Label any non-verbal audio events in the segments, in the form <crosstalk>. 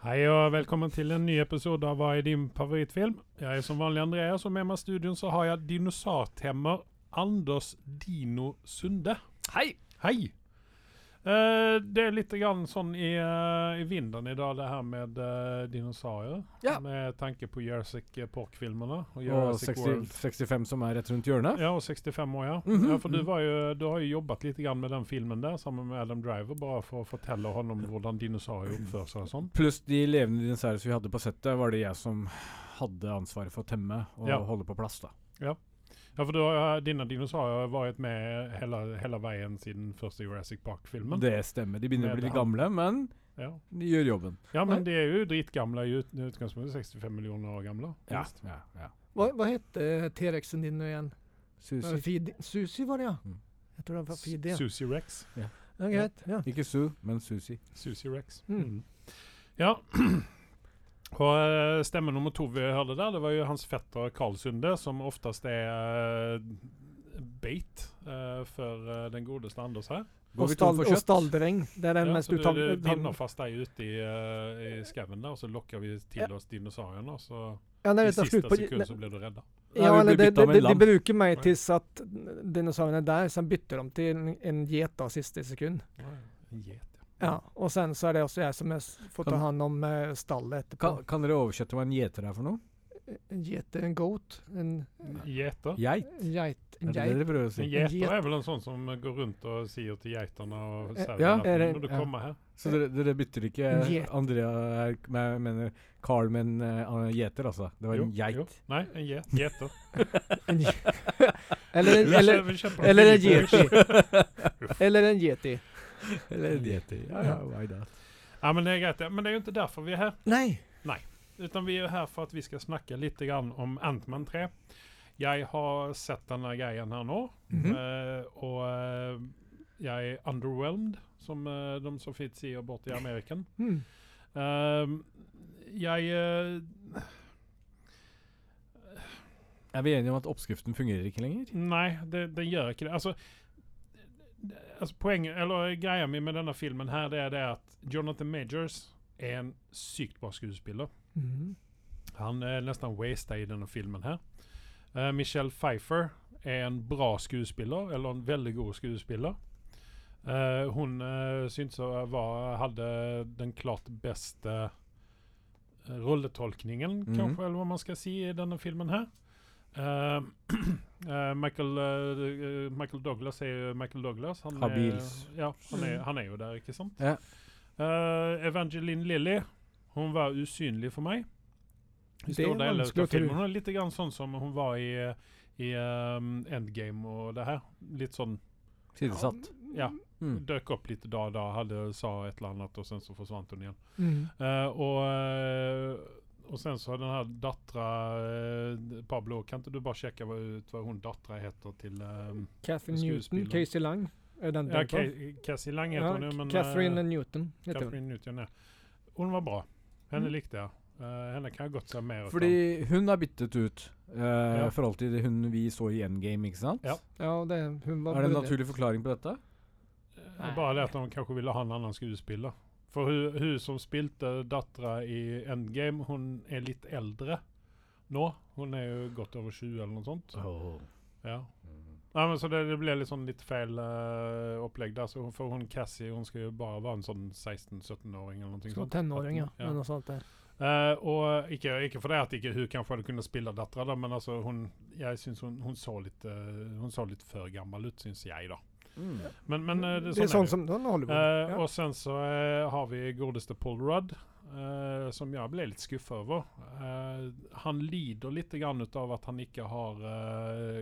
Hei og velkommen til en ny episode av Hva er din favorittfilm? Jeg er som vanlig Andreas, og med meg i studioen så har jeg dinosaurtemmer Anders Dino Sunde. Hei! Hei! Eh, det er litt grann sånn i, eh, i vinden i dag, det her med eh, dinosaurer. Ja. Med tanke på Jurassic Park-filmene. Og Og Jurassic 60, World. 65 som er rett rundt hjørnet. Ja, og 65 år, ja. Mhm. ja for du, var jo, du har jo jobbet litt grann med den filmen der sammen med Adam Driver, bare for å fortelle ham hvordan dinosaurer oppfører seg og sånn. Pluss de levende dinosaurene vi hadde på settet, var det jeg som hadde ansvaret for å temme og Ja. holde på plass. da. Ja, for du har, dine dinosaurer har vært med hele, hele veien siden første Jurassic Park-filmen. Det stemmer. De begynner å Med bli litt han. gamle, men Ja. de gjør jobben. ja, men de er jo dritgamle i ut, i utgangspunktet. 65 millioner år gamle. Ja, minst. ja, ja. Hva, hva het eh, T-rexen din nå igjen? Var det Susi. Fidi? Susi var det, ja. Mm. Jeg tror det var Fidi. ja. Susie Rex. Ja, greit. Ja. Ikke Sue, men Susi. Susie Rex. Mm. Mm. Ja. <clears throat> Og eh, stemme nummer to vi hørte der, det var jo hans fetter Karl Sunde, som oftest er eh, beit eh, for eh, den godeste Anders her. Går Og, vi tom stall, for og kjøtt? stalldreng. Det er den Ja, mest så du, du uttale- vinner fast deg ute i, eh, i skauen der, og så lokker vi til oss dinosaurene, og så Ja, nei, I det tar siste slutt på sekund så blir du redda. Nei, Ja, vi eller blir de, byttet de, med de, de en lam. bruker meg Ja. til at dinosaurene er der, sen bytter de til en- en get da, siste sekund. En get, ja. Ja, og sen så er det også jeg som er s- får ta Kan- hand om eh, stallet etterpå. Kan, kan dere oversette hva en gjeter er for noe? En get, en goat, en Geiter? Geit? en geit, en Er det det geit. dere prøver å En si? geiter Get. er vel en sånn som går rundt og sier til geitene og Eh, sauene ja, at nå er det- må "Mm, du ja. komme her. Så dere, dere bytter ikke En gjet. Andrea er- nei, Jeg mener Carl med en eh, gjeter, altså. Det var Jo, en jo. geit. Nei, en get. Geter. En ge- <laughs> eller, Vi en- eller, kjøper- vi kjøper eller en Filip. yeti. <laughs> Eller en yeti. Eller <laughs> en gjeter. Ja, ja, why not? Ja, men det er greit, det. Men det er jo ikke derfor vi er her. Nei. Utan vi er her for at vi skal snakke litt grann om Antman 3. Jeg har sett denne greien her nå, Mhm. eh, og eh, jeg er underwhelmed, som eh, de så fint sier borte i Ameriken. Mm. Ehm, jeg eh, Er vi enige om at oppskriften fungerer ikke lenger? Nei, det, den gjør ikke det. Altså, altså poenget, eller greia mi med denne filmen her, det er det at Jonathan Majors er en sykt bra skuespiller. Mm. Han er nesten wasta i denne filmen her. Eh, Michelle Pfeiffer er en bra skuespiller, eller en veldig god skuespiller. Eh, hun uh, syntes å være- hadde den klart beste eh, rolletolkningen, Mhm. kanskje, eller hva man skal si, i denne filmen her. Eh, <clears throat> eh, Michael, eh, eh, Michael Douglas er jo Michael Douglas. Han Habils. Er, ja, han er, han er jo der, ikke sant? Ja. Eh, Evangeline Lilly, hun var usynlig for meg. I Det store er deler vanskelig av å tro. filmen. Hun er litt grann sånn som hun var i, i ehm, Endgame og det her. Litt sånn Sidesatt. Ja. Mm. Døk opp litt da og da, hadde, sa et eller annet, og sen så forsvant hun igjen. Mm. Eh, og, eh, og sen så har den her dattera Pablo, kan ikke du bare sjekke hva, ut hva hun dattera heter til ehm, Catherine Newton, Skuespiller. Casey Lang. Er den Ja, der på? Ca- Cassie Lang heter Ja, hun jo, men Catherine eh, Newton heter hun. Catherine Newton, ja. Hun var bra. Henne Mm. likte jeg. Eh, henne kan jeg godt se mer av. Fordi hun er byttet ut eh, Ja. i forhold til hun vi så i Endgame, ikke sant? Ja. Ja, det, hun var Er det en brud, ja. naturlig forklaring på dette? Nei. Bare det at de kanskje ville ha en annen skuespiller. For hun, hun som spilte dattera i Endgame, hun er litt eldre nå. Hun er jo godt over 20 eller noe sånt. Ja. Nei, men så det, det ble litt sånn litt feil eh, opplegg der. Så hun- for hun Cassie hun skal jo bare være en sånn 16-17-åring eller noe Som sånt. tenåring, ja. Ja. Eller noe sånt der. Eh, og ikke, ikke for det at ikke hun kanskje hadde kunnet spille dattera, da, men alltså altså hun, jeg syns hun, hun så litt eh, Hun så litt for gammel ut, syns jeg, da. Mm. Men, men eh, det, det, er sånn sånn er det. som sånn Hollywood. Eh, ja. Og sen så eh, har vi godeste Paul Rudd, eh, som jeg ble litt skuffet over. Eh, han lider litt grann ut av at han ikke har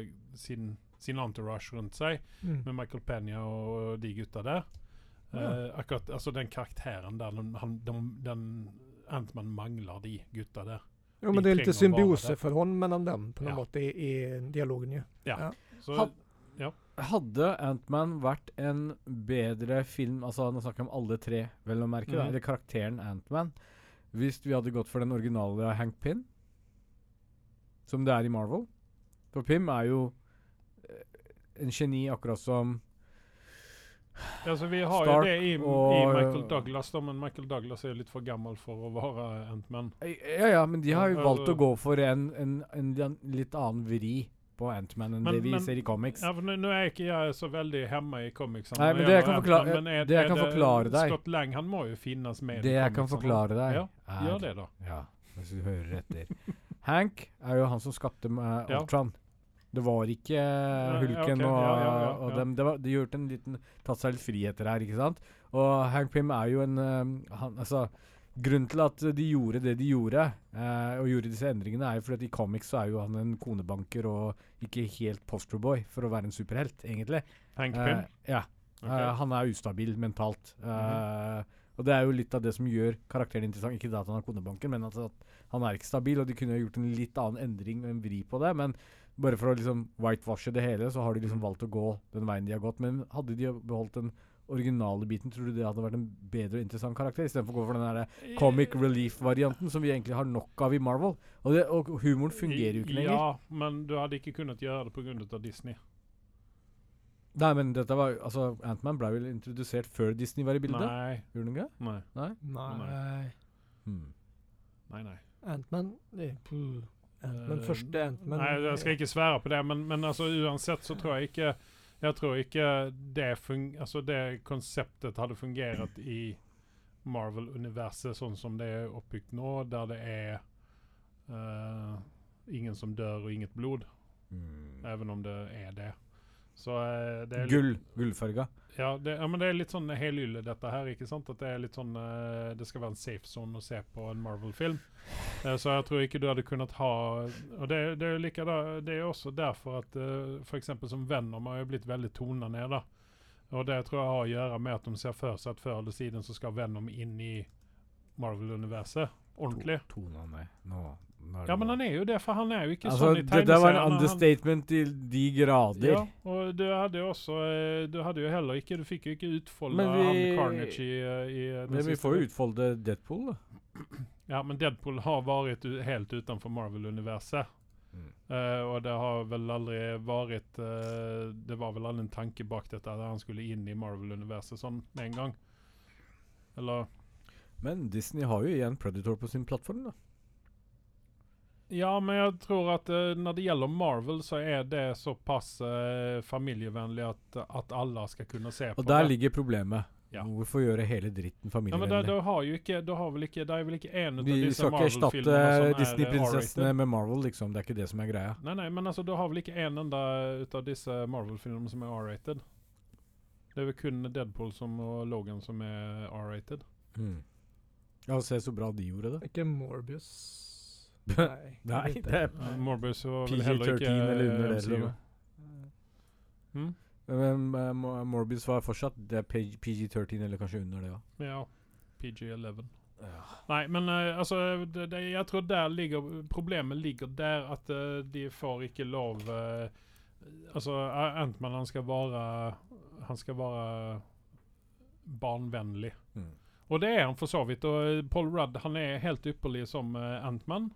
eh, sin, sin entourage rundt seg, mm. med Michael Penya og de gutta der. Eh, Ja. akkurat, altså Den karakteren der, den, han, den, den Ant-Man mangler de gutta der. Jo, men det er vi litt trenger å være der. symbioseforhold mellom dem på noen Ja. måte i, i dialogen, jo. Så, Han- Hadde Ant-Man vært en bedre film Altså Nå snakker jeg om alle tre, vel å merke. da, Mhm. Eller karakteren Ant-Man Hvis vi hadde gått for den originale Hank Pym, som det er i Marvel. For Pym er jo eh, en geni, akkurat som Alltså vi har Stark ju det i, i och- Michael Douglas då, men Michael Douglas är lite för gammal för att vara Ant-Man. Ja, ja, men de har jo Ja, valgt å altså- gå for en, en, en, lian- litt annen vri på Ant-Man enn Men- det vi men- ser i comics. Ja, för nu, nu är inte jag så väldigt hemma i comicsarna. när Nej, men det det jag gäller kan Ant-Man, förklara- men är- det jag är kan förklara dig. Scott Lang, han må ju finnas med det i jeg kan comicsarna. forklare deg, Ja, Gör det då. Ja, hvis du hører etter. Hank er jo han som skapte uh, Ja. Ultron. Det var ikke ja, eh, Hulken ok, og, ja, ja, ja, og ja. dem. Det var, de gjorde en liten tatt seg litt friheter her, ikke sant? Og Hank Pym er jo en eh, han, Altså, grunnen til at de gjorde det de gjorde, eh, og gjorde disse endringene, er jo fordi at i comics så er jo han en konebanker og ikke helt posterboy for å være en superhelt, egentlig. Hank Eh, Pym. ja. Okej. Eh, han er ustabil mentalt. Eh, Mhm. Og det er jo litt av det som gjør karakteren interessant. Ikke det at han har konebanken, men at, at han er ikke stabil. Og de kunne jo gjort en litt annen endring og en vri på det. Men bare for å liksom whitewashe det hele, så har de liksom Mhm. valgt å gå den veien de har gått. Men hadde de beholdt den originale biten, tror du det hadde vært en bedre og interessant karakter? Istedenfor å gå for den der comic relief-varianten som vi egentlig har nok av i Marvel. Og, det, og humoren fungerer jo ikke lenger. Ja, men du hade inte kunnat göra det på grund av Disney. Nei, men dette var jo- Altså, Antman ble vel introdusert før Disney var i bildet? Nej, Gjorde den ikke? det? nej, Nei. Hmm. nej, nej. Ant-Man det er- puh. Ant-Man, Eh, første Ant-Man. Nej, jag ska inte svära på det, men, men alltså oavsett så tror jag inte, jag tror inte det, fun- alltså, det konceptet hade fungerat i Marvel-universet sånt som det är uppbyggt nu, där det är eh, ingen som dör og inget blod, Mm. även om det är det. Så eh, det är li- Gull. Gullfarga. Ja, det, ja, men det er litt sånn helylle dette her, ikke sant? At det er litt sånn eh, Det skal være en safe zone å se på en Marvel-film. Eh, så jeg tror ikke du hadde kunnet ha Og det, det er jo likada, det er jo også derfor at eh, for f.eks. som Venom har jo blitt veldig tona ned, da. Og det tror jeg har å gjøre med at de ser for seg at før eller siden så skal Venom inn i Marvel-universet. Ordentlig. To, tona ned. Nå, nå Ja, men han er jo det, for han er jo ikke altså, sånn i Alltså, Det der var en tegneseriene. Han- understatement til de grader. Ja, og du hadde jo også eh, Du hadde jo heller ikke Du fikk jo ikke utfolda Men vi- han Carnage i, eh, i eh, den Men vi siste- får jo utfolde Deadpool, da. Ja, men Deadpool har vært u- helt utenfor Marvel-universet. Mm. Eh, og det har vel aldri vært eh, Det var vel aldri en tanke bak dette at han skulle inn i Marvel-universet sånn med en gang. Eller Men Disney har jo igjen Predator på sin plattform, da. Ja, men jeg tror at eh, når det gjelder Marvel, så er det såpass eh, familievennlig at, at alle skal kunne se på Og der det. ligger problemet. Ja. Hvorfor gjøre hele dritten Ja, men da, familievennlig? da har jo ikke, da har vel ikke, det er vel ikke en av vi disse skal ikke erstatte Marvel-filmene som er Disney-prinsessene R-rated. med Marvel, liksom. Det er ikke det som er greia. Nei, nei, men altså, du har vel ikke en enda ut av disse Marvel-filmene som er R-rated. Det er vel kun Deadpool som, og Logan som er R-rated. Mm. Ja, se så bra de gjorde det. Ikke Morbius. Nei. Nei, vet det er Uh, Morbius var vel heller eh, PG-13 ikke eller under det. MCU. Eller noe. Mm? Men eh, Mo- Morbius var fortsatt det er PG- PG-13 eller kanskje under det, ja. Ja. PG-11. Ja. Nei, men eh, altså det, det, Jeg tror der ligger Problemet ligger der at eh, de får ikke lov eh, Altså, A- Ant-Man han skal være Han skal være barnvennlig. Mm. Og det er han for så vidt. Og eh, Paul Rudd han er helt ypperlig som eh, Ant-Man.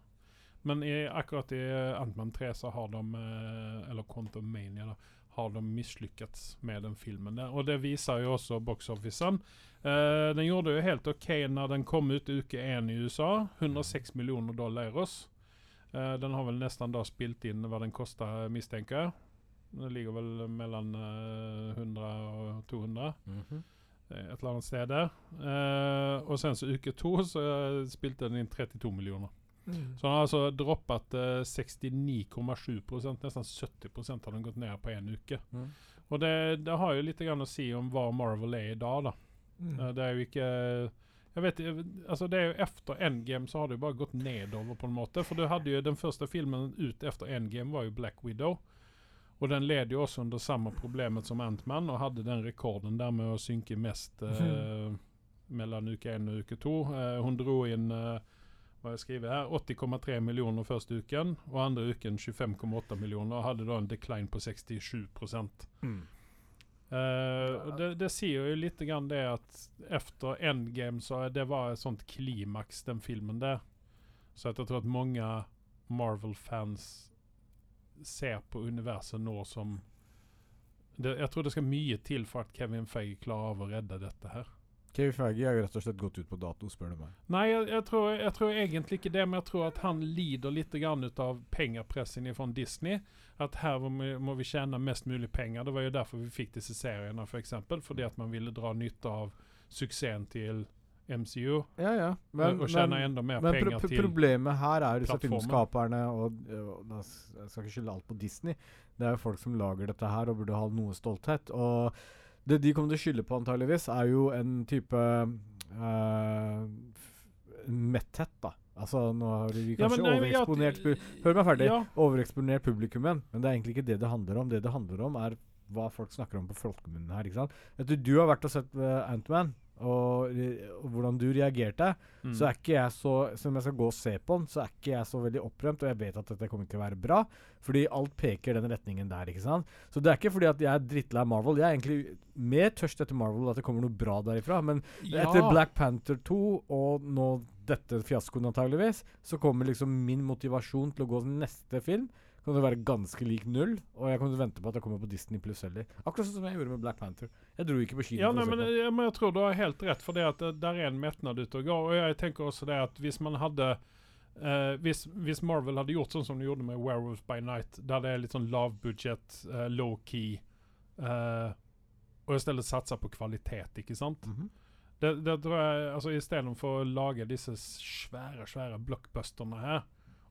Men i, akkurat i eh, Ant-Man 3 så har de eh, Eller Quantum Mania, da. Har de mislykkes med den filmen der. Og det viser jo også box-officen. Eh, den gjorde jo helt OK når den kom ut uke én i USA. 106 millioner dollar euros. Eh, den har vel nesten da spilt inn hva den eh, kosta, mistenker jeg. Det ligger vel mellom eh, 100 og 200 Mhm. eh, et eller annet sted der. Eh, og sen så uke to så eh, spilte den inn 32 millioner. Mm. Så den har altså droppet eh, 69,7 nesten 70 har den gått ned på én uke. Mm. Og det, det har jo litt grann å si om hva Marvel er i dag, da. Eh, Mm. det er jo ikke jeg vet, eh, altså det er jo Efter Endgame så har det jo bare gått nedover, på en måte. For du hadde jo den første filmen ut efter Endgame var jo Black Widow. Og den led jo også under samme problemet som Ant-Man, og hadde den rekorden der med å synke mest eh, mellom uke én og uke to. Eh, hun dro inn eh, hva jeg skriver her, 80,3 millioner første uken, og andre uken 25,8 millioner, og hadde da en decline på 67 Mm. Eh, och det, det sier jo litt grann det at efter Endgame så er- det var et sånt klimaks, den filmen der. Så at jeg tror at mange Marvel-fans ser på universet nå som det, jeg tror det skal mye til for at Kevin Feige klarer av å redde dette her. Kevin Feige er jo rett og slett gått ut på dato, spør du meg. Nei, jeg, jeg, tror, jeg tror egentlig ikke det, men jeg tror at han lider litt grann ut av pengepressen fra Disney. At her må vi, må vi tjene mest mulig penger. Det var jo derfor vi fikk disse seriene, f.eks. For eksempel, Mm. fordi at man ville dra nytte av suksessen til MCU. Ja, ja. Men, og tjene men, enda mer men pro penger pro- til problemet her er jo disse plattformen. filmskaperne og, og da s- Jeg skal ikke skylde alt på Disney. Det er jo folk som lager dette her og burde ha noe stolthet. Og det de kommer til å skylde på, antageligvis, er jo en type eh, f- metthet, da. Altså, nå har vi Ja, men kanskje nei, men jeg- overeksponert pu- Hør meg ferdig. Ja, overeksponert publikummen. Men det er egentlig ikke det det handler om. Det det handler om, er hva folk snakker om på folkemunnen her. ikke sant? Etter du har vært og sett eh, Ant-Man, og, re- og hvordan du reagerte, mm. så er ikke jeg så Som jeg skal gå og se på den, så er ikke jeg så veldig opprømt, og jeg vet at dette kommer til å være bra, fordi alt peker den retningen der, ikke sant? Så det er ikke fordi at jeg er drittlei av Marvel. Jeg er egentlig mer tørst etter Marvel, at det kommer noe bra derifra. Men etter Black Panther 2 og nå dette fiaskoen antageligvis, så kommer liksom min motivasjon til å gå til neste film kommer til å være ganske lik null, og jeg kommer til å vente på at det kommer på Disney pluss heller. Akkurat sånn som jeg gjorde med Black Panther. Jeg dro ikke på kino. Ja, for å nei, se men, på den. ja, men jeg tror du har helt rett, for det at det, der er en metnad ute og går. Og jeg tenker også det at hvis man hadde eh, hvis, hvis Marvel hadde gjort sånn som de gjorde med Werewolves by Night, der det er litt sånn lavbudsjett, eh, low key, eh, og i stedet satsa på kvalitet, ikke sant? Mhm. Det, det tror alltså jeg, altså Istedenfor å lage disse svære, svære blockbusterne her,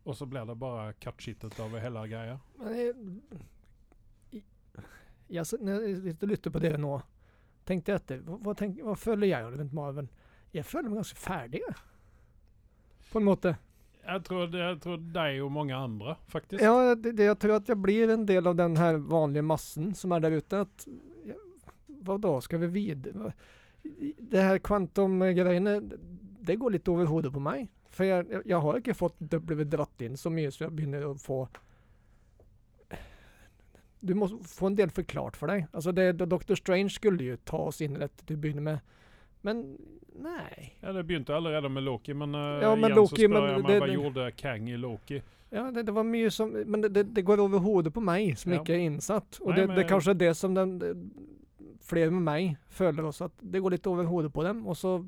og så blir det bare kattskittet over hele greia. Men jeg, jeg, s- når jeg sitter og lytter på dere nå, tenkte jeg etter. Hva, hva, tenk, hva føler jeg av Event Marvel? Jeg føler meg ganske ferdig, jeg. på en måte. Jeg tror, det- jeg tror deg og mange andre, faktisk. Ja, det, det, jeg tror at jeg blir en del av den her vanlige massen som er der ute. At ja, hva da, skal vi videre? Det her kvantum-greiene, det går litt over hodet på meg. For jeg, jeg, jeg har ikke fått det blitt dratt inn så mye, så jeg begynner å få Du må få en del forklart for deg. Altså Alltså det, Dr. Strange skulle jo ta oss inn rett til å begynne med, men nei. Ja, det begynte allerede med Loki, men, eh, Ja, men igjen så Loki, spør men jeg meg det- hva det- gjorde Kang i Loki? Ja, det, det var mye som Men det, det, det går over hodet på meg som Ja. ikke er innsatt. Og Nei, det, men- det er kanskje det som den, det, flere med meg føler også, at det går litt over hodet på dem, og så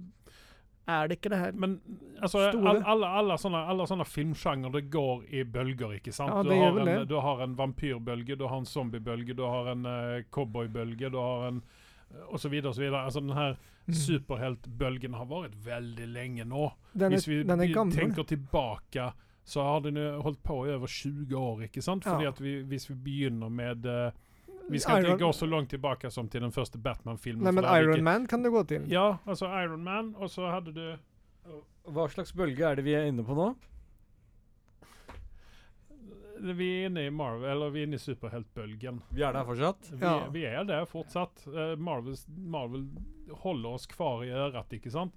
er det ikke det her. Men altså, Store. all, alle, alle sånne, alle sånne filmsjanger, det går i bølger, ikke sant? Ja, du, det gjør har vel en, det. du har en vampyrbølge, du har en zombiebølge, du har en eh, cowboybølge, du har en eh, og så videre og så videre. Altså, den her Mm. superheltbølgen har vært veldig lenge nå. Den Hvis er, vi den er vi gammel. tenker tilbake, så har den jo holdt på i over 20 år, ikke sant? Fordi Ja. at vi, hvis vi begynner med eh, Vi skal Iron- ikke gå så langt tilbake som til den første Batman-filmen. Nei, for men der er det ikke- Iron Man kan det gå til. Ja, altså Iron Man, og så hadde du Hva slags bølge er det vi er inne på nå? Vi er inne i Marvel, eller vi er inne i superheltbølgen. Vi er der fortsatt. Vi, Ja. vi er der fortsatt. Eh, Marvels, Marvel holder oss kvar i øret, ikke sant?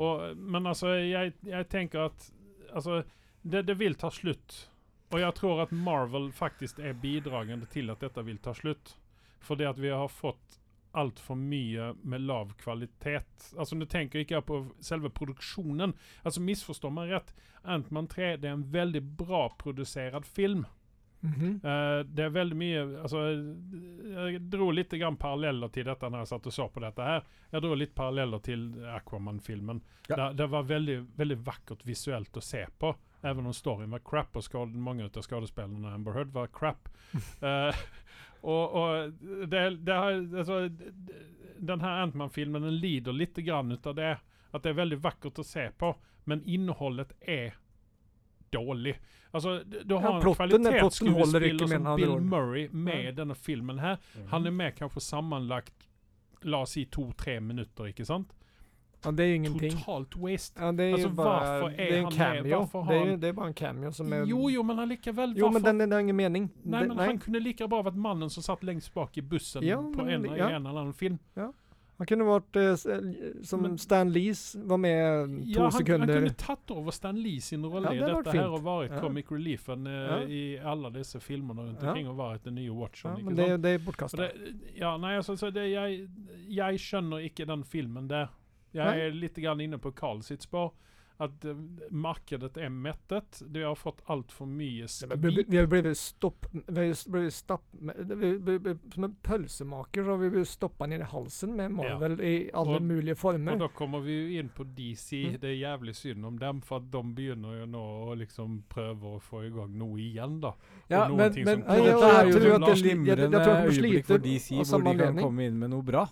Og, men alltså, altså, jeg, jeg tenker at altså, alltså, det, det vil ta slutt. Og jeg tror at Marvel faktisk er bidragende til at dette vil ta slutt. Fordi at vi har fått altfor mye med lav kvalitet. Alltså, Altså, nå tenker ikke jeg på Alltså, selve produksjonen. Altså, misforstå meg rett. Ant-Man 3 det er en veldig bra produsert film. Mhm. Eh, det er veldig mye altså, Jeg dro litt grann paralleller til dette når jeg satt og så på dette. her. Jeg dro litt paralleller til Aquaman-filmen. Ja. Det, det var veldig, veldig vakkert visuelt å se på. Even om storyen var crap, og skade, mange av skadespillerne Amber Heard var crap. Eh, og og det, det har, altså, den her Antman-filmen den lider litt grann ut av det. At det er veldig vakkert å se på, men innholdet er dårlig. Altså, Alltså, d- du har en plotten- plotten holder ikke, kvalitetsskuespiller mener som han Bill Roland. Murray med Ja. i denne filmen her. Han er med kanskje sammenlagt La oss si to-tre minutter, ikke sant? Ja, det er jo ingenting. Totalt waste. Ja, det er jo Altså, bare varför är Det er en han med? cameo. Varför har Det er, jo- han- det er bare en cameo som er Jo, jo, men allikevel. Jo, men varför- den, den har ingen mening. Nei, Det- men han kunne like bra vært mannen som satt lengst bak i bussen Ja, på men en, ja. i en eller annen film. han kunne vært eh, s- som Men- Stan Lees, var med to Ja, han, han Mm, sekunder. kunne tatt over Stan Lee sin rolle Ja, i det hadde dette vært her fint. og vært Ja. comic reliefen eh, Ja. i alle disse filmene rundt Ja. omkring og vært den nye ja, Watcheren. men ikke det, sant? det er Så bortkasta. det, ja, nei, altså, så det, jeg, jeg skjønner ikke den filmen der. Jeg Nei. er litt grann inne på Carl sitt spor. At eh, markedet er mettet. Det har fått altfor mye Vi skvip. vi har blivit stopp... Vi har ju s- blivit stapp... det- vi- vi- vi- Som en pölsemaker så har vi blivit stoppa ner i halsen med Marvel i alla Och- möjliga former. Og da kommer vi jo inn på DC. Mm. Det er jævlig synd om dem, for at de begynner jo nå å liksom prøve å få i gang noe igjen, da. Ja, noen men, ting men som men kommer. dette Ja, er jeg jo tror det at det li- jeg- jeg- jeg glimrende tror at de øyeblikk for sliter DC, av hvor samme de kan anledning. komme inn med noe bra.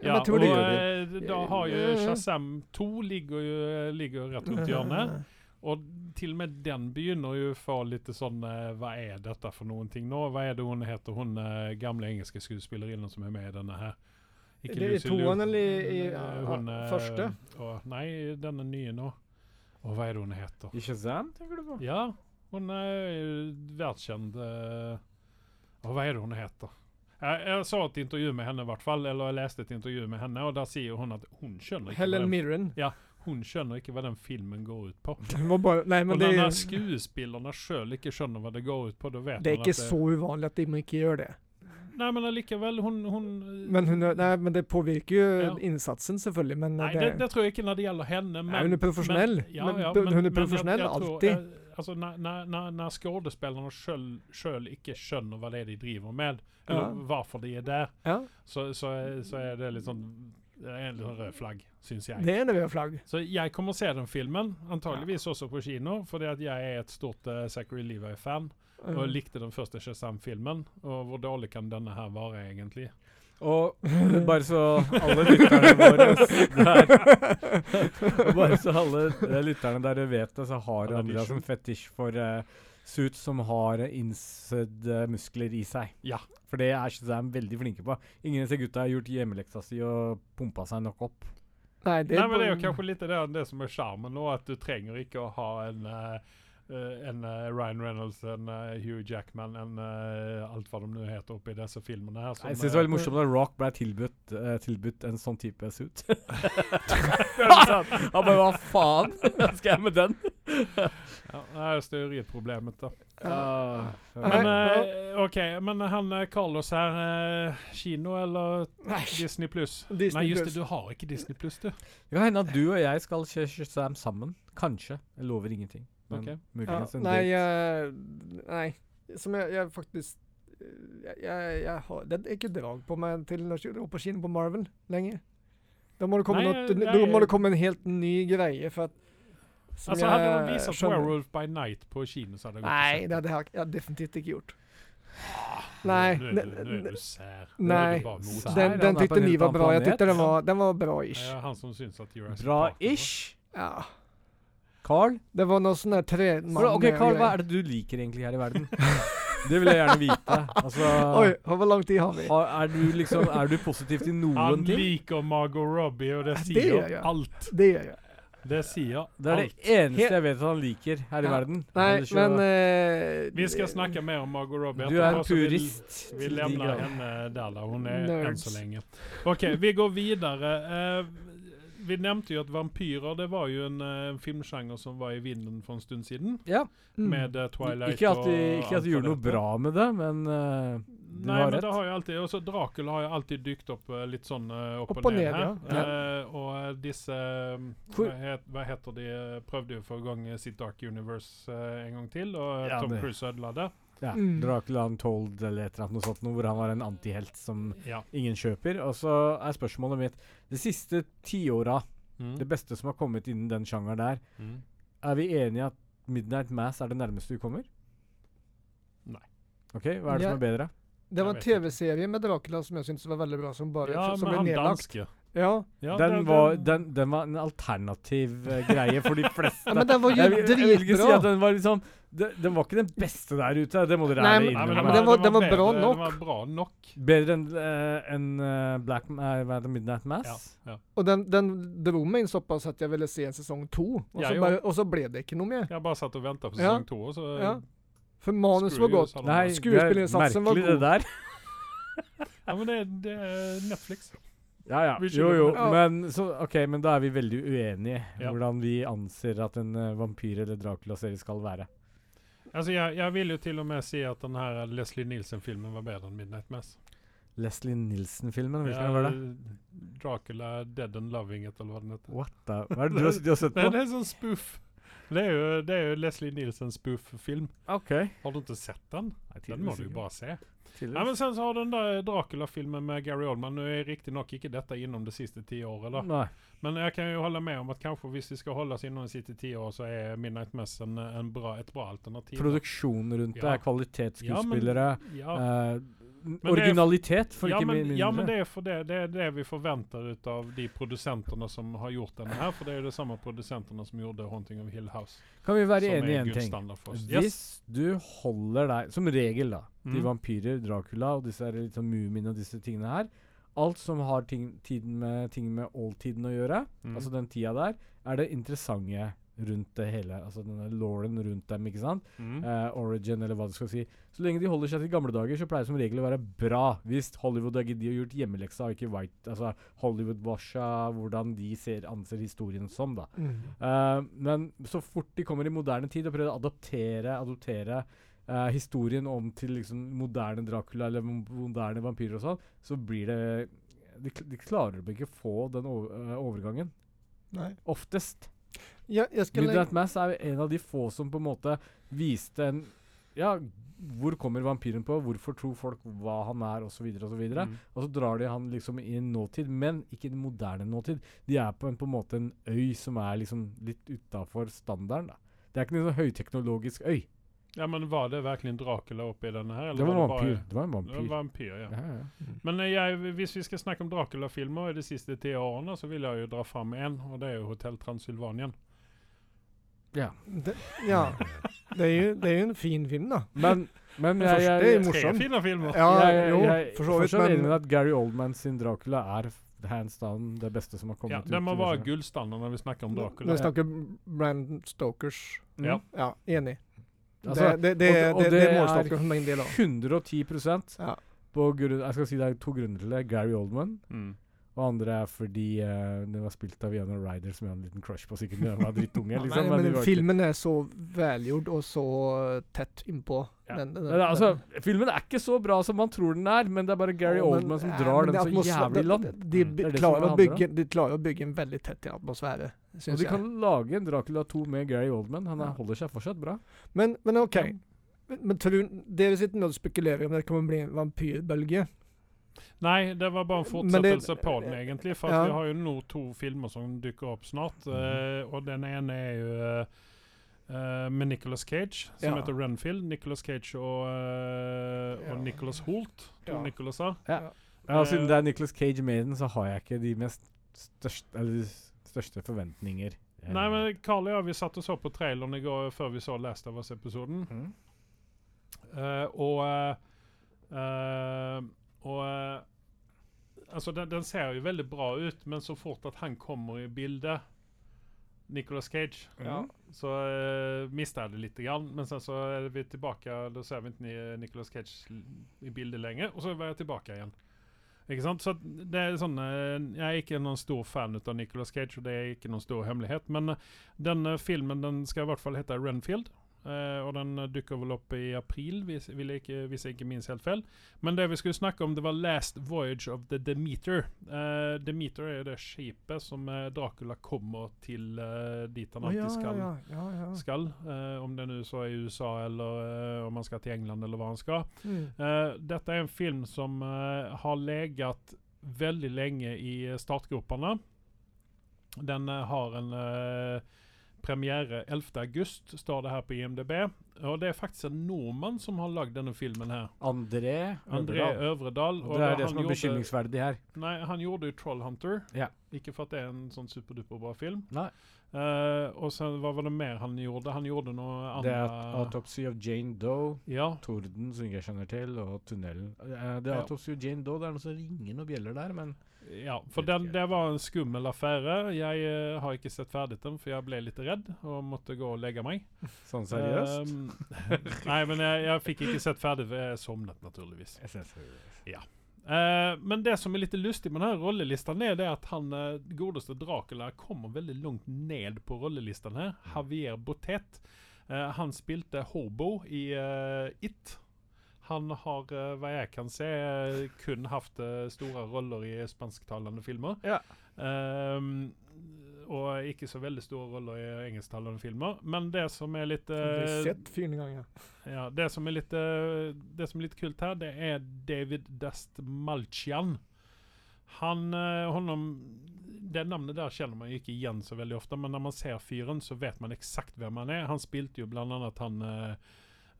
men jeg tror og det eh, da har jo Eh. Shazam 2 ligger jo ligger rett rundt hjørnet. Mm. Og til og med den begynner jo å få litt sånn eh, Hva er dette for noen ting nå? Hva er det hun heter, hun eh, gamle engelske skuespillerinnen som er med i denne her? Det er i Lucy Liu. toeren eller i- i, Eh, ja, hun, eh, første? å, nei, denne nye nå. Og hva er det hun heter? I Shazam, tenker du på? Ja, hun er verdenskjent eh, Og hva er det hun heter? Jeg, jeg så et intervju med henne, i hvert fall. Eller jeg leste et intervju med henne, og der sier hun at hun skjønner ikke, hva Helen den, Mirren. hun skjønner ikke hva den filmen går ut på. Det var bara, nej, men Og det, når är- skuespillerne sjøl ikke skjønner hva det går ut på, da vet det är man inte at det, så ovanligt att de inte gör det. Nei, men allikevel, hun, hun Men, hon, är- nej, men det påverkar ju Ja. insatsen selvfølgelig. Men Nei, det, det, det tror jeg ikke når det gjelder henne. Men, Nei, hun er profesjonell. Men, ja, Men ja, hun er men- men profesjonell tror, alltid. eh, altså, når, når, når- når skuespillerne sjøl ikke skjønner hva det er de driver med, eller Ja. hvorfor de er der, ja, så, så, er- så er det litt sånn det er en litt sånn rød flagg, syns jeg. det är en röd flagg. Så jeg kommer å se den filmen, antageligvis også på kino, fordi at jeg er et stort eh, Zachary Levi-fan. Og jeg likte den første Shazam-filmen. Og hvor dårlig kan denne her være, egentlig? Og bare så <laughs> alle lytterne <laughs> våre der og Bare så alle eh, lytterne der vet det, så har Alle Andreas en lytterne. fetisj for eh, suits som har eh, innsødd eh, muskler i seg. Ja. For det er Shazam veldig flinke på. Ingen av disse gutta har gjort hjemmeleksa si og pumpa seg nok opp. nej, det, Nei, är men det er bara- jo kanskje litt det, det som er sjarmen nå, at du trenger ikke å ha en eh, eh, en eh, Ryan Reynolds, en eh, Hugh Jackman, en eh, alt hva de nå heter oppi disse filmene her. Jeg syns det var eh, <laughs> <laughs> veldig morsomt at Rock ble tilbudt, eh, tilbudt en sånn type suit. <laughs> Han bare hva faen skal jeg med den? ja, Det er støyeriproblemet, da. Ah, Men men, Nei. eh, OK, men han eh, Carlos her eh, Kino eller Disney pluss? Disney+. Nei, just det, du har ikke Disney pluss, du. det kan hende at du og jeg skal se Shazam sammen. Kanskje. Jeg lover ingenting. Men Ok. Ja, muligens en nej, date. jag, nej. Som jag, jag faktiskt... eh, Jag, jag, jag har, det är inte drag på mig till att gå på kino på Marvel länge. De har det kommit, Nej, något, nej. de har det kommit en helt ny grej för att... som Altså, Hadde jag Alltså, de vist skönjer. Werewolf by Night på kino, så hadde jeg gått og sett Nej, den. det hade jag, jag definitivt inte gjort. Nej, Ah, Nu, ne- är du, nu är ne- du sär. nej. Nu är du bara mot. Sär. Det den, Nej, den den var på tyckte en ni helt var annan bra. Jag tyckte den liksom. planet. var, den var bra-ish. är han som syns att Jurassic Park är Bra-ish. Ja. Carl? Det var någon sån där träman... Bra, ok, Carl, hva er det du liker egentlig her i verden? Det vil jeg gjerne vite. Altså, Oj, vad lång tid har vi? Alltså, har, er, du liksom, er du positiv til bra. noen Han ting? liker Margot Robbie og det Ja, det sier gjør jeg. alt. Det gör jag. Det sier Det er alt. det eneste Helt- jeg vet at han liker her i Ja. verden. Nej, Ellers så- men... eh, Vi skal snakke mer om Margot Robbie Du er etterpå, en så vi- purist. Vi til de lämnar grader. henne där, där hon är än Nerds. så länge. Okej, vi går vidare. Eh, vi nämnde ju att vampyrer, det var ju en uh, filmgenre som var i vinden för en stund sedan. Ja. Mm. Med eh, Twilight Ikke at, och de, ikke at allt de vad gjorde noe det heter. bra med det, men eh, du Nei, har men det rett. har jo alltid Og så Dracula har jo alltid dykt opp eh, litt sånn eh, opp, Opp og og ned, ned, her. ja. Eh, og eh, disse eh, hva, For- het, hva heter de eh, Prøvde jo å få i gang eh, sitt Dark Universe eh, en gang til, og eh, Ja, Tom det- Cruise ødela det. Ja, Mm. Dracula Untold eller et eller annet noe sånt, noe hvor han var en antihelt som Ja. ingen kjøper. Og så er spørsmålet mitt De siste tiåra, det beste som har kommet innen den sjangeren der, Mm. er vi enige at Midnight Mass er det nærmeste vi kommer? Nei. OK, hva er det Ja. som er bedre? Det var Jag en vet inte. tv-serie med Dracula som jag syntes var väldigt bra som bara Ja, som men blev han nedlagt. danske. Ja. Ja, den, det- var, den, den var en alternativ <laughs> eh, greie for de fleste. <laughs> ja, men den var ju Jeg vil- jeg vil ikke si dritbra. at den var liksom den, den var ikke den beste der ute, det må dere Nei, ærlig men- Nei, men Ja, den innrømme. var, den var- den var bedre, bra nok. Den var bra nok. Bedre enn eh, enn, eh, Black Ma- eh, hva er det, Midnight Ja, Mass? ja. Och den, den drog mig in så pass att jag ville se en säsong 2. Och, Ja, så jo. bara- och så blev det inte något mer. Jeg bare satt og venta på Ja. sesong to, og så Ja. För manus var Screw you, gott. sa de. Nei, Skuespillerinnsatsen var det er merkelig det der. Ja, men det, det er Netflix. Ja, ja. Vi skylder Jo, jo. på det. Men, så, ok, men da er vi veldig uenige Ja. hvordan vi anser at en eh, vampyr- eller Dracula-serie skal være. Alltså, Altså, jeg, jeg vil jo til og med si at den her Leslie Nielsen-filmen var bedre enn Midnight Mass. Leslie Nilsen-filmen. Hvilken var det? Dracula Dead and Loving, et eller hva den heter. What the? Hva er det du har, du har sett Nei, på? det er sånn spoof. Det er jo, det er jo Leslie Nielsens spoof-film. OK. Har du ikke sett den? Den må du jo bare se. Tidligere. Nei, men sen så har den där Dracula-filmen med Gary Oldman, nu är riktigt nog inte detta inom de sista tio åren då. Nei. Men jag kan ju hålla med om att kanske hvis vi ska hålla inom de sista tio åren så är Midnight Mass en, en bra, ett bra alternativ. Produksjonen rundt det Ja. er kvalitetsskuespillere. ja. eh, det er- originalitet, for ja, ikke min- men, mindre. ja men det är för det, det, är det vi förväntar utav de producenterna som har gjort den här. För det är ju de samma producenterna som gjorde Haunting of Hill House. Kan vi som være enige i är én ting? guldstandard för oss. Hvis Yes. du holder deg Som regel, da. De Mm. vampyrer, Dracula og disse her litt sånn mumiene og disse tingene her. Alt som har ting, tiden med, ting med oldtiden å gjøre, Mm. altså den tida der, er det interessante rundt det hele. Altså denne lauren rundt dem, ikke sant? Mm. Eh, origin, eller hva du skal si. Så lenge de holder seg til gamle dager, så pleier det som regel å være bra. Hvis Hollywood har giddet å gjort hjemmeleksa, og ikke white Altså Hollywood-washa, hvordan de ser, anser historien som, da. Mm. Eh, men så fort de kommer i moderne tid og prøver å adoptere, adoptere eh, historien om til liksom moderne Dracula eller mo- moderne vampyrer og sånn, så blir det De, kl- de klarer ikke å få den over, eh, overgangen. Nei. Oftest. Ja, jeg skal legge- Midnight Mass er en av de få som på en måte viste en Ja, hvor kommer vampyren på? Hvorfor tror folk hva han er? Og så videre og så videre. Mm. Og så drar de han liksom i en nåtid, men ikke i en moderne nåtid. De er på en, på en måte en øy som er liksom litt utafor standarden. da. Det er ikke noen sånn høyteknologisk øy. Ja men var det verkligen Dracula uppe i den här? Det Eller var en det vampyr. Det var en Bara, det vampyr. var vampyr ja. Ja, ja. Men eh, jeg, hvis vi skal snakke om Dracula-filmer i de siste ti årene, så vil jeg jo dra fram én, og det er jo Hotell Transylvanien. det, Ja. Det er, jo, det er jo en fin film, da. Men, men Den jeg, første jeg, er jeg, morsom. Tre fine filmer! Ja, jeg, jeg, jo, jeg for så vidt, er enig men med at Gary Oldman sin Dracula er f- hands down det beste som har kommet Ja, ut. den må i være disse- gullstandarden når vi snakker om Dracula. Når vi snakker Brandon Stokers Mm. Ja. Alltså, Ja, enig. Altså, det, det, det, og det- og det, det det er er målstokken for min del òg. 110 Ja. på grunn, Jeg skal si det er to grunner til det. Gary Oldman Mm. Og andre er fordi eh, den var spilt av Iana Ryder, som jeg hadde en liten crush på. Sikkert <laughs> da jeg var drittunge. Nei, liksom. de men typ- var ikke- filmen er så velgjort og så eh, tett innpå. Ja. alltså, Den, den, Nei, det er altså, alltså, filmen er ikke så bra som man tror den er, men det er bare Gary Å, men- Oldman som eh, drar men den det så atmosfæ- jævlig langt. De, de, Mm. de, Det er det som klarer å det handler om. bygge, de klarer å bygge en veldig tett atmosfære, Og syns de jeg. kan lage en Dracula 2 med Gary Oldman. Han er, Ja. holder seg fortsatt bra. Men, men OK. Ja. Men, men tror du Dere sitter nå og spekulerer om det kommer bli en vampyrbølge. Nei, det var bare en Men det- fortsettelse på den, egentlig. For at Ja. Mm. vi har jo nå to filmer som dukker opp snart. eh, og den ene er jo eh, med Nicolas Cage, som Ja. heter Renfield. Nicolas Cage og, eh, Ja. og Nicolas Holt. To Ja. Nicolas'er. Ja, Eh, siden det er Nicholas Cage med i den, så har jeg ikke de mest største, eller de s- største forventninger. Eh, Nei, men Carl og jeg vi satt og så på traileren i går før vi så Last of Us-episoden. Mhm. Eh, og eh, eh, og eh, Altså, den, den ser jo veldig bra ut, men så fort at han kommer i bildet Nicolas Cage. Ja. Så uh, mister jeg det lite grann. Men sen så er vi tilbake, da ser vi ikke Ni- Nicolas Cage l- i bildet lenger. Og så var jeg tilbake igjen. Ikke sant? Så at det er sånn eh, Jeg er ikke noen stor fan av Nicolas Cage, og det er ikke noen stor hemmelighet. Men eh, denne filmen den skal i hvert fall hete Renfield. eh, og den eh, dukker vel opp i april, hvis, vil jeg ikke, hvis jeg ikke minnes helt feil. Men det vi skulle snakke om, det var Last Voyage of the Demeter. Eh, Demeter er det skipet som eh, Dracula kommer til eh, dit han Å, alltid ja, skal ja, ja, ja. skal. eh, om det nu så er i USA eller eh, om man skal til England eller hva han skal. Mm. Eh, detta är en film som eh, har legat väldigt länge i eh, startgroparna. Den eh, har en eh, premiär 11 august, står det här på IMDB. Och det är faktiskt en norman som har lagt den här filmen här. André André Övredal. Øvredal. Og det er det som er gjorde, bekymringsverdig her. nej, han gjorde ju Trollhunter. Ja. Icke för att det är en sån superduper bra film. Nei, Eh, och sen vad var det mer han gjorde? Han gjorde några det andra... er Autopsy of Jane Doe. ja, Torden, som ikke jeg kjenner til, og tunnelen. Eh, Det er Ja. Autopsy of Jane Doe. Det er noe som ringer noen bjeller der, men Ja, for Vet den, ikke. det var en skummel affære. Jeg eh, har ikke sett ferdig den, for jeg ble litt redd og måtte gå og legge meg. sånn <laughs> seriøst Um, nei, men jeg, jeg fikk ikke sett ferdig, for jeg sovnet naturligvis. Jeg ser seriøst. Eh, men det som er litt lustig med denne rollelisten, er det at han eh, godeste Dracula kommer veldig langt ned på rollelisten Mm. her. Javier Botet. Eh, han spilte Hobo i eh, It. Han har, eh, hva jeg kan se, eh, kun hatt eh, store roller i spansktalende filmer. Ja. Ehm, og ikke så veldig store roller i engelsktalende filmer. Men det som er litt har eh, sett fyren ganger. ja, det som er litt eh, Det som er litt kult her, det er David Dest Malchian. Han eh, honom Det navnet der kjenner man jo ikke igjen så veldig ofte, men når man ser fyren, så vet man eksakt hvem han er. Han spilte jo blant annet han eh,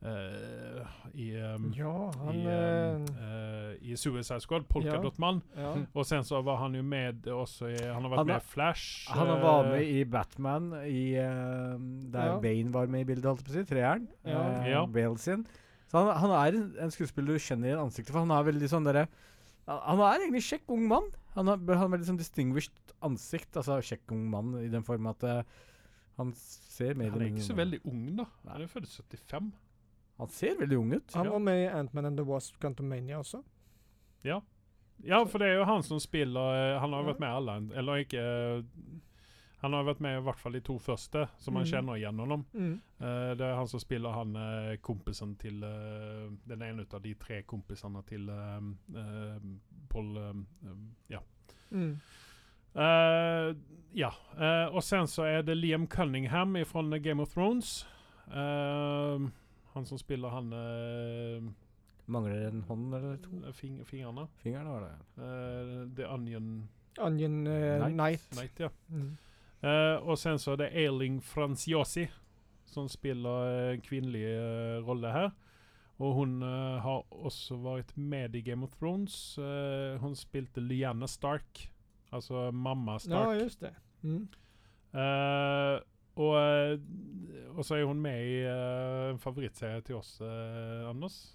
eh, i, ehm, Ja, han i, ehm, eh, eh, I Suicide Squad, ja. Polkadot-mann. ja. Og sen så var han jo med også i Han har vært Han er- med i Flash. Han var eh, med i Batman, i, eh, der Ja. Bane var med i bildet, holdt jeg på å si. Treeren. Ja. eh, Ja. Bale sin. Så han, han er en, en skuespiller du kjenner igjen ansiktet, for han er veldig sånn derre han- Han er egentlig kjekk ung mann. Han har, han har veldig sånn distinguished ansikt, altså kjekk ung mann i den form at eh, han ser mer eh, Han eller er ikke mindre så ung ut. veldig ung, da. Han er født i 75. Han ser veldig ung ut. Han Ja. var med i Ant-Man and the Wasp Quantumania også. Ja, for det er jo han som spiller eh, Han har Ja. vært med i alle, eller ikke eh, Han har vært med i hvert fall de to første, som man Mm. kjenner igjen honom. Mm. Eh, det er han som spiller han eh, kompisen til eh, Den ene av de tre kompisene til eh, eh, Paul eh, Ja. Mm. Eh, ja. Eh, og sen så er det Liam Cunningham fra Game of Thrones. Eh, han som spiller han eh, Mangler en hånd eller to. fing fingrene. Fingeren var det. Eh, The Onion Onion eh, Knight. Knight. Night, ja. Mm. Eh, og sen så er det Eiling Franciosi som spiller en kvinnelig eh, rolle her. Og hun eh, har også vært med i Game of Thrones. Eh, hun spilte Lyanna Stark, altså mamma Ja, Stark. just det. Mm. Eh, og, eh, og så er hun med i eh, en favorittserie til oss, eh, Anders.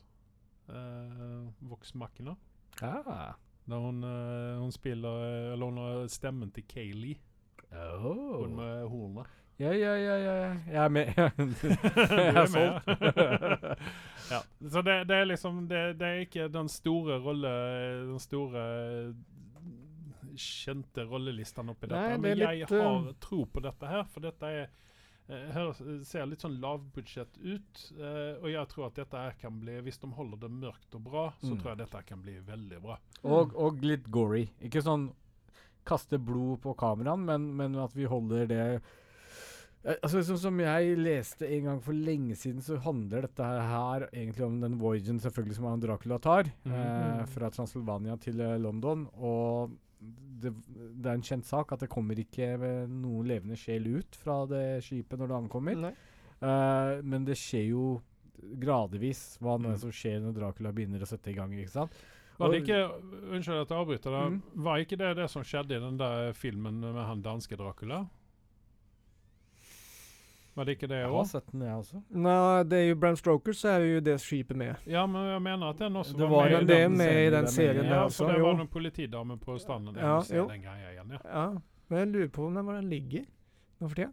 Uh, Vox Machina. Ja. Der hun, eh, hun spiller eh, Eller hun har stemmen til Kayleigh. Oh. Hun med hornet. Ja, ja, ja, ja. ja. Jeg er <laughs> med. Du Jeg er er <laughs> med. Alltså. <laughs> ja. Så det, det er liksom det, det er ikke den store rolle Den store kjente rollelisten oppi dette. Nei, her, det Men er jeg litt, har eh, tro på dette her, for dette er eh, høres, ser litt sånn lavbudsjett ut, eh, og jeg tror at dette her kan bli Hvis de holder det mørkt og bra, så Mm. tror jeg dette her kan bli veldig bra. Og, og litt gory. Ikke sånn kaste blod på kameraen, men, men at vi holder det Eh, Altså som, som jeg leste en gang for lenge siden, så handler dette her, her egentlig om den voyagen selvfølgelig som han Dracula tar. Eh, Mhm. fra Transylvania til eh, London. Og det, det er en kjent sak at det kommer ikke eh, noen levende sjel ut fra det skipet når det ankommer. Nei. Eh, men det skjer jo gradvis hva nå Mm. er som skjer når Dracula begynner å sette i gang. ikke sant? Var det Og- ikke, Unnskyld at jeg avbryter. deg. Mm. Var ikke det det som skjedde i den der filmen med han danske Dracula? Var det ikke det Jeg har òg? sett den, jeg også. Nei, det er jo Bram Stroker, så er det jo det skipet med. Ja, men jeg mener at den også Det var med. var Men i jo det den- er med i serien den der serien med- der ja, også. for det var Jo. noen politidame på stranden. Ja, Ja, jo. Den greia igjen, ja. Ja. Men jeg lurer på om hvor den ligger nå for tida.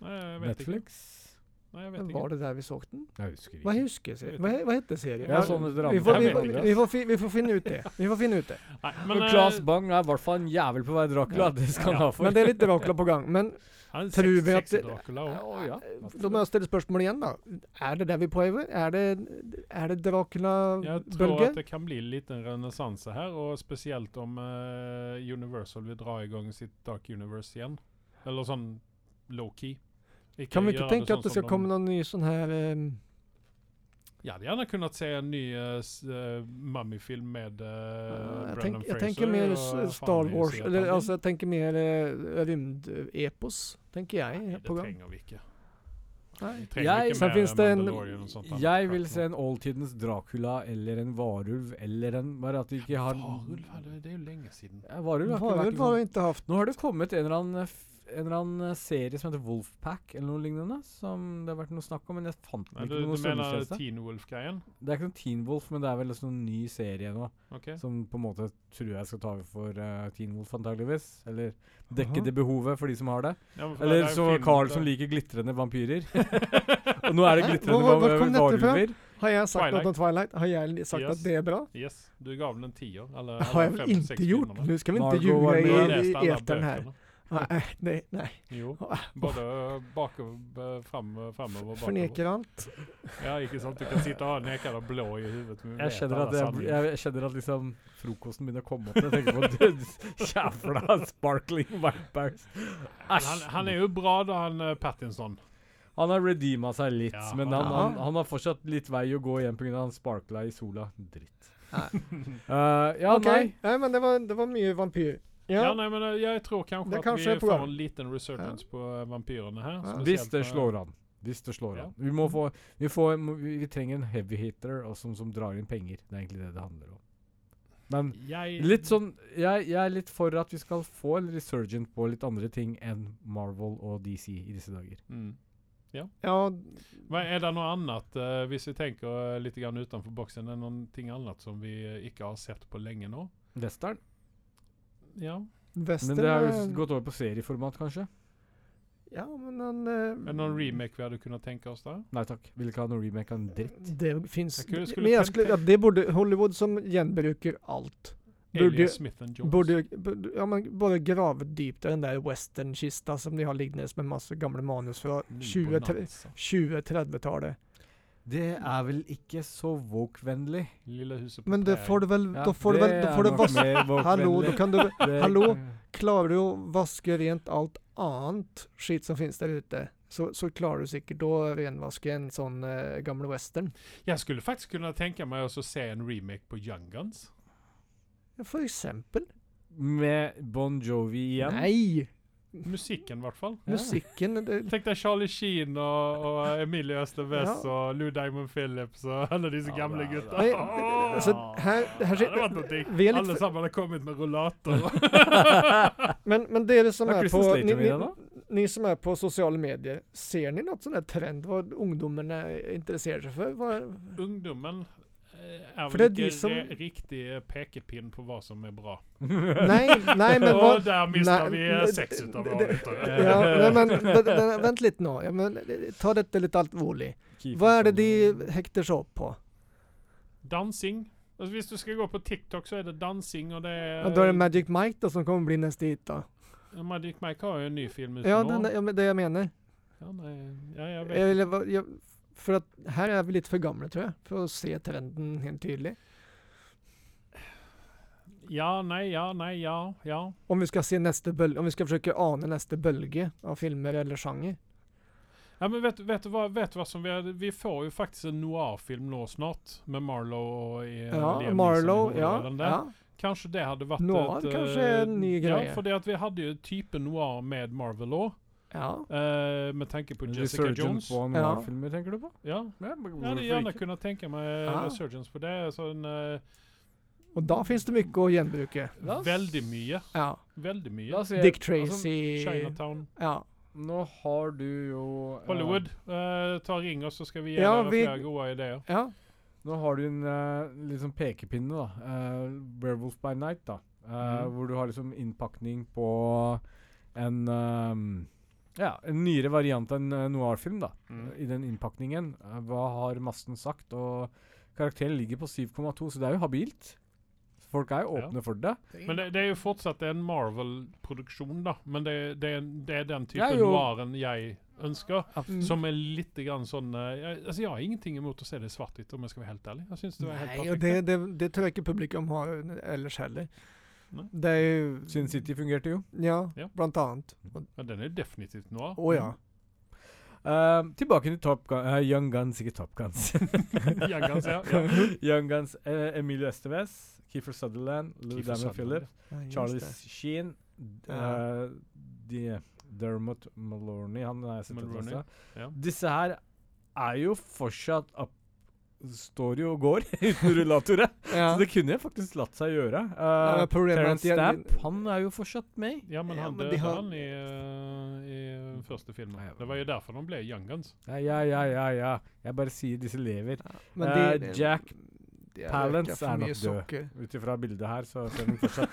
Nei, jeg vet ikke. Netflix? Nei, jeg vet Var ikke. det der vi så den? Jeg husker Hva husker serien? Hva, he- hva heter serien? Jeg så den etter vi, andre. får, vi, Jeg vet får- ikke. vi, får, fi- vi får finne ut det. Vi får finne ut <laughs> det. Nei, men Men eh, Claes Bang er i hvert fall en jævel på vei Dracula. <laughs> Det skal han ha for. Men det er litt Dracula på gang. Men Äh, han er tror sex- vi at det- sex-Dracula Ja, også. å, ja. da må jeg stille spørsmålet igjen, da. Er det der vi prøver? Er det, er det Jeg tror at Dracula-bølge? det kan bli en liten renessanse her, og spesielt om eh, Universal vil dra i gang sitt Dark Universe igjen. Eller sånn low-key. Kan vi gjøre ikke tenke sånn at som det skal de- Eh, komme noen ny sånn her ehm, Jeg hadde gjerne kunnet se en ny eh, s- eh, Mummy-film med uh, jeg, Brennan tenk, Fraser. jeg tenker mer og s- faen Star meg Wars Sier eller, alltså, Palin. altså, Jeg tenker mer eh, rymdepos, tenker jeg. Nei, det på gang. trenger vi ikke. Nei. Vi trenger Jeg- ikke Så mer finnes det en- Mandalorian og sånt. annet Jeg crap vil nå. se en oldtidens Dracula eller en varulv eller en Bare at de ikke har Varulv, er det, det er jo lenge siden. Ja, varulv har ikke vært Varulv har liksom. vi ikke hatt. Nå har det kommet en eller annen f en eller annen eh, serie som heter Wolfpack eller noe lignende, som det har vært noe snakk om, men jeg fant den Nei, du, ikke du noe mener sømmetjeneste. Teen Wolf-greien? Det er ikke noen Teen Wolf, men det er vel liksom en ny serie nå, Ok. som på en måte tror jeg skal ta over for eh, Teen Wolf antageligvis, eller dekke Aha. det behovet for de som har det. Ja, men for det Eller er jo så film- Carl det- som liker glitrende <laughs> vampyrer. og nå er det Hæ? glitrende Hvor- hvor va- kom dette fra? varulver. Har jeg sagt Twilight. noe om Twilight? Har jeg sagt Yes. at det er bra? Yes, du gav den en tier. Eller, Det har jeg eller vel fem, seks ikke gjort. filmene. Nå skal vi Margot ikke ljuge Du har Robbie. i, lest i alle eteren her. bøkene. Nei, det, nei. Jo. Både bakover, fram, fremover og bakover. Forneker alt. Ja, ikke sant? Du kan sitte og ha en jækla blå i huvudet. men vi Jeg vet kjenner, alle at jeg, sanningen. jeg, jeg kjenner at liksom frokosten begynner å komme opp. når Jeg tenker på <laughs> død- jævla sparkling white bags. han, Æsj. han er jo bra, da, han eh, Pattinson. Han har redeema seg litt, Ja, men han han, han, har- han har fortsatt litt vei å gå igjen pga. han sparkla i sola. Dritt. Nei. <laughs> Eh, ja, Ok. Nei, men det var, det var mye vampyr. Ja. Ja. nei, men eh, jeg tror kanskje Det at kanskje vi er på får gang. en liten resurgence på eh, vampyrene her. Ja. nei. spesielt Hvis det på- slår an. Hvis det slår eh, Ja. an. Vi, må få, vi, får, må- vi vi trenger en heavy hitter og som, som drar inn penger. Det er egentlig det det handler om. Men Jeg, litt sånn jeg, jeg er litt for at vi skal få en resurgent på litt andre ting enn Marvel og DC i disse dager. mm. ja, Men er det noe annet, eh, hvis vi tenker eh, litt grann utenfor boksen, er det noe annet som vi eh, ikke har sett på lenge nå? Western. Ja. Western Men det har jo eh, s- gått over på serieformat, kanskje. Ja, men han eh, Er det noen remake vi hadde kunnet tenke oss der? Nei takk. Vil ikke ha noen remake av en dritt. Det fins Jeg skulle- skulle Men jeg tenkt- skulle, ja, det burde Hollywood som gjenbruker alt. Burde- Alias Smith and Jones. Borde, burde, ja, men bare grave dypt i den der westernkista som de har liggende med masse gamle manus fra Ny alltså. 20 tre- bonanza. 20-30-tallet. Det er vel ikke så woke-vennlig. Lille huset på Men det prærien. får du vel Da får du vel Da får du vaske Hallo, da kan du vel- hallo? Klarer du å vaske rent alt annet skitt som finnes der ute, så, så klarer du sikkert å renvaske en sånn eh, gammel western. Jeg skulle faktisk kunne tenke meg også å se en remake på Young Guns. Ja, For eksempel. Med Bon Jovi igjen? Nei! Musikken, i hvert fall. Ja. Musikken det, Tenk deg Charlie Sheen og, og Emilie Østerwes Ja. og Lou Diamond Phillips og alle disse Ja, gamle det er- gutta. Nei, Åh! altså, her, her det hadde skjer, vært noe digg. vi er litt Alle sammen hadde kommet med rullator. <laughs> <laughs> <laughs> men, men dere som Har er på Christian Slater ni, med ni, deg, ni som er på sosiale medier, ser ni noe sånn der trend hva ungdommene interesserer seg for? <laughs> Hva, Ungdommen eh, er For vel det er ikke de som- re riktig pekepinn på hva som er <laughs> bra. da? nei, nei, men hva og der mista nei, vi eh, det- seks ut av det- våre det- lyttere. <laughs> ja, nei, men, men- men Vent litt nå. Ja, men, ta dette litt alvorlig. Hva er det de hekter seg opp på? Dansing. Altså, hvis du skal gå på TikTok, så er det dansing, og det er Ja, da er det Magic Mike da, som kommer bli neste hit. da. Magic Mike har jo en ny film ute Ja, nå. den, er- ja, men det jeg mener. Ja, nei, ja, jeg vet. Jeg, ville va- jeg, for at, her er vi litt for gamle, tror jeg, for å se trenden helt tydelig. ja, nei, ja, nei, ja, ja. Om vi skal se neste bøl- om vi skal forsøke å ane neste bølge av filmer eller sjanger. ja men vet, vet, du hva, vet du hva som vi er Vi får jo faktisk en noir-film nå snart, med Marlowe og i, eh, Ja, Liam Marlowe. Neeson i Ja, hovedrollen der. ja. Kanskje det hadde vært Noir eh, kanskje er en ny greie. Ja, fordi at vi hadde jo type noir med Marvel òg, ja. med tanke på Jessica Resurgent Jones. på Ja. noir-filmer, tenker du på? Ja. Ja, Jeg hadde gjerne kunne tenke meg Ja. eh, Resurgence på det. Sånn eh, Og da finnes det mye å gjenbruke. La oss- veldig mye. Ja. Veldig mye. La oss se. Dick alltså, Altså, Tracy Chinatown. Ja. nå har du jo eh, Hollywood, eh, ta ring oss, så skal vi gi Ja, dere vi- flere gode ideer. ja. Nå har du en eh, liksom pekepinne, da. Eh, Werewolf by Night, da. Eh, Mhm. Hvor du har liksom innpakning på en ehm, Ja, en nyere variant av en eh, noir-film, da. Mm. I den innpakningen. Eh, hva har massen sagt? Og karakteren ligger på 7,2, så det er jo habilt. Folk er jo Ja. åpne for det. Men det, det er jo fortsatt en Marvel-produksjon, da. Men det, det, er, det er den type Ja, jo. noiren jeg ønsker. Mm. Som er litt grann sånn eh, jeg, altså jeg har ingenting imot å se det i svart-hvitt, om jeg skal være helt ærlig. Jeg synes det var helt Nei, og perfekt. det, det, det tror jeg ikke publikum har eh, ellers heller. Nei. Det er jo Sin City fungerte jo. Ja, Ja. blant annet. Å Ja, den er definitivt noir. ja. Eh, tilbake til Top Gun eh, Young Guns, ikke Top <laughs> Guns. Jangans, ja. ja. <laughs> Young Guns, eh, Emilio Estevez, Kiefer Sutherland, Lou Kiefer Diamond Sutherland, Phillips, Ja, just det. Charles Sheen, d- Ja. eh, de, Dermot Maloney han har jeg sett etter Mulroney, også. ja. Disse her er jo fortsatt opp, står jo og går <laughs> uten rullatorer. <laughs> Ja. Så det kunne faktisk latt seg gjøre. Ja, Uh, men problemet er at Terence de er- Stamp, han er jo fortsatt med. Ja, men Ja, han men de døde, har- Mm. han, i, eh, i den første filmen. Nei, jeg- Det var jo derfor de ble Young Guns. Ja, ja, ja, ja. ja. Jeg bare sier disse lever. Men de- Eh, Jack Det er Palance røka for er mye nok død. sukker. Ut ifra bildet her så ser den <laughs> fortsatt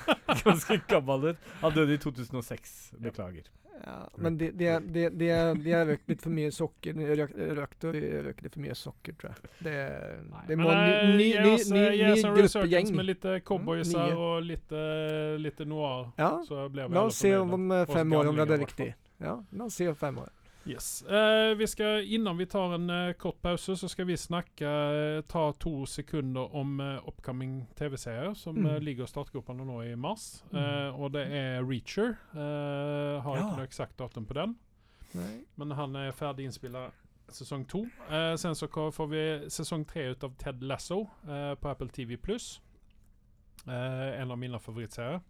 ganske gammel ut. Han døde i 2006. Beklager. Ja, men det de, de, de, de har røkt litt for mye sukker. De røk- Røkt og røkt litt for mye sukker, tror jeg. Det, det Men eh, må en ny, ny, jeg ny, også- ny, jeg ny som researchers gruppegjeng. Med litt cowboys her nye. og litt, eh, litt noir. Mm, Ja, Så blir vi la alle oss se fornøyde. om eh, oss fem år gamlinger, om det i er hvert fall. riktig. Ja, la oss se om fem år. Yes. Eh, vi ska, innan vi tar en eh, kort pause så ska vi snacka, eh, ta to sekunder om eh, upcoming tv-serier som Mm. eh, ligger i startgroparna nå i mars. Mm. Eh, och det är Reacher. Eh, har Ja. inte något exakt datum på den. Nei. Men han är färdiginspelad säsong 2. Eh, sen så ko- får vi säsong 3 utav Ted Lasso eh, på Apple TV+. Eh, en av mina favoritserier.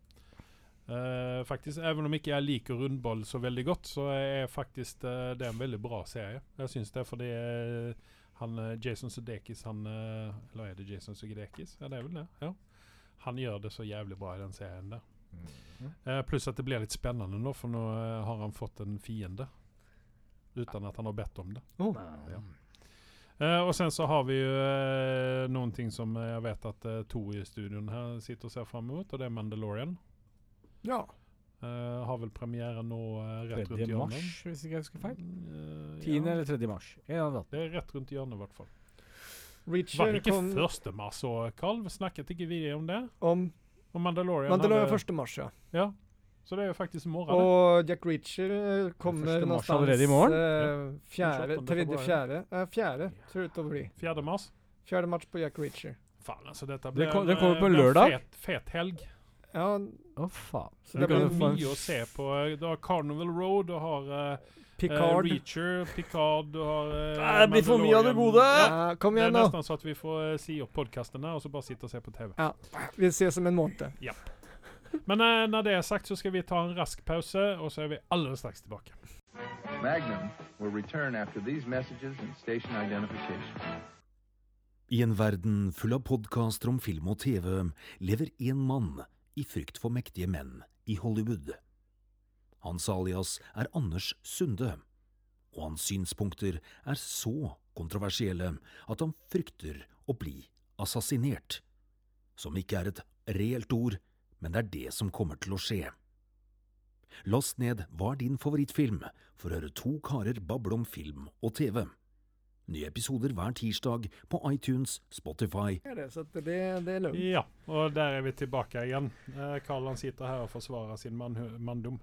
Eh, faktiskt, även om inte jag liker rundboll så väldigt gott så är faktiskt eh, det en väldigt bra serie. Jag syns det för det är han eh, Jason Sudeikis, han, eh, eller är det Jason Sudeikis? Ja det är väl det, ja. Han gör det så jävligt bra i den serien där. Eh, Plus att det blir lite spännande då för nu eh, har han fått en fiende. Utan att han har bett om det. Oh. Ja. Eh, och sen så har vi ju eh, någonting som eh, jag vet att eh, Tor i studion här sitter och ser fram emot och det är Mandalorian. Ja. Eh, har väl premiären nå eh, rätt runt 3. hjørnet. mars, hvis ikke jeg husker feil. Mm, eh, 10. ja. eller 3. mars. En av Det är rätt runt hjørnet i vart fall. Var det Reacher inte kom första mars så eh, Karl? Snackat inte vi om det? om Om Mandalorian? Mandalorian hade- 1. mars, ja. Ja. Så det är ju faktiskt imorgon. det. Og Jack Reacher eh, kommer Første mars någonstans allerede Mm. i morgen? eh, Ja. fjärde, 28 tredje, februari. fjärde, eh, fjärde ser det ut att bli. Fjärde mars. Fjärde match på Jack Reacher. Fan alltså detta Det blir kom- en, det kommer eh, på en blir lördag. Fet, fet helg. Ja, Å, faen. Så Vi det kan blir jo få en mye å se på. Du har Carnival Road, du har eh, Picard. eh, Reacher, Picard, du har eh, Ah, det blir for mye av det Mandalorian. gode! Ja, Ja, kom det igjen er nå! nesten så at vi får eh, si opp podkasten her og så bare sitte og se på TV. Vi ses om en måned. Men eh, når det er sagt, så skal vi ta en rask pause, og så er vi allerede straks tilbake. Magnum will return after these messages and station identification. I en verden full av podkaster om film og TV lever én mann i frykt for mektige menn i Hollywood. Hans alias er Anders Sunde, og hans synspunkter er så kontroversielle at han frykter å bli assassinert. Som ikke er et reelt ord, men det er det som kommer til å skje. Last ned Hva er din favorittfilm? for å høre to karer bable om film og TV. Nye episoder hver tirsdag på iTunes, Spotify Er det, så att det, det er lugnt. Ja, og der er vi tilbake igjen. Eh, Karl han sitter her og forsvarer sin mannhu- manndom.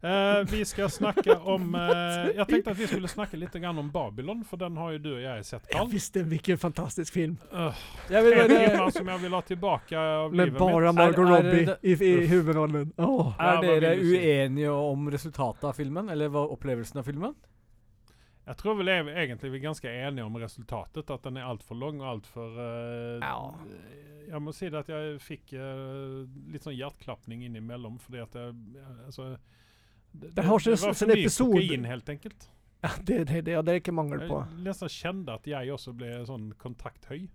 Eh, vi skal snakke om eh, <laughs> Jeg tenkte at vi skulle snakke litt grann om Babylon, for den har jo du og jeg sett, Jeg Karl. visste hvilken fantastisk film! Øh, <laughs> Jeg vil tre bare timer som jeg vil ha tilbake av Med livet mitt. bare Margot Er- er det- Robbie i, i hovedrollen. Åh! Ja, hva Er dere vil du si? uenige om resultatet av filmen, eller hva opplevelsen av filmen? Jeg tror vel ev- egentlig vi er ganske enige om resultatet, at den er altfor lang og altfor eh, Ja. Jeg må si det at jeg fikk eh, litt sånn hjerteklapning innimellom, fordi at jeg jeg- Altså eh, alltså, Det, Den har sin- sin episode. kokain, helt enkelt. Ja, det, det, det, ja, det er ikke mangel på. Jeg nesten kjente at jeg også ble sånn kontakthøy.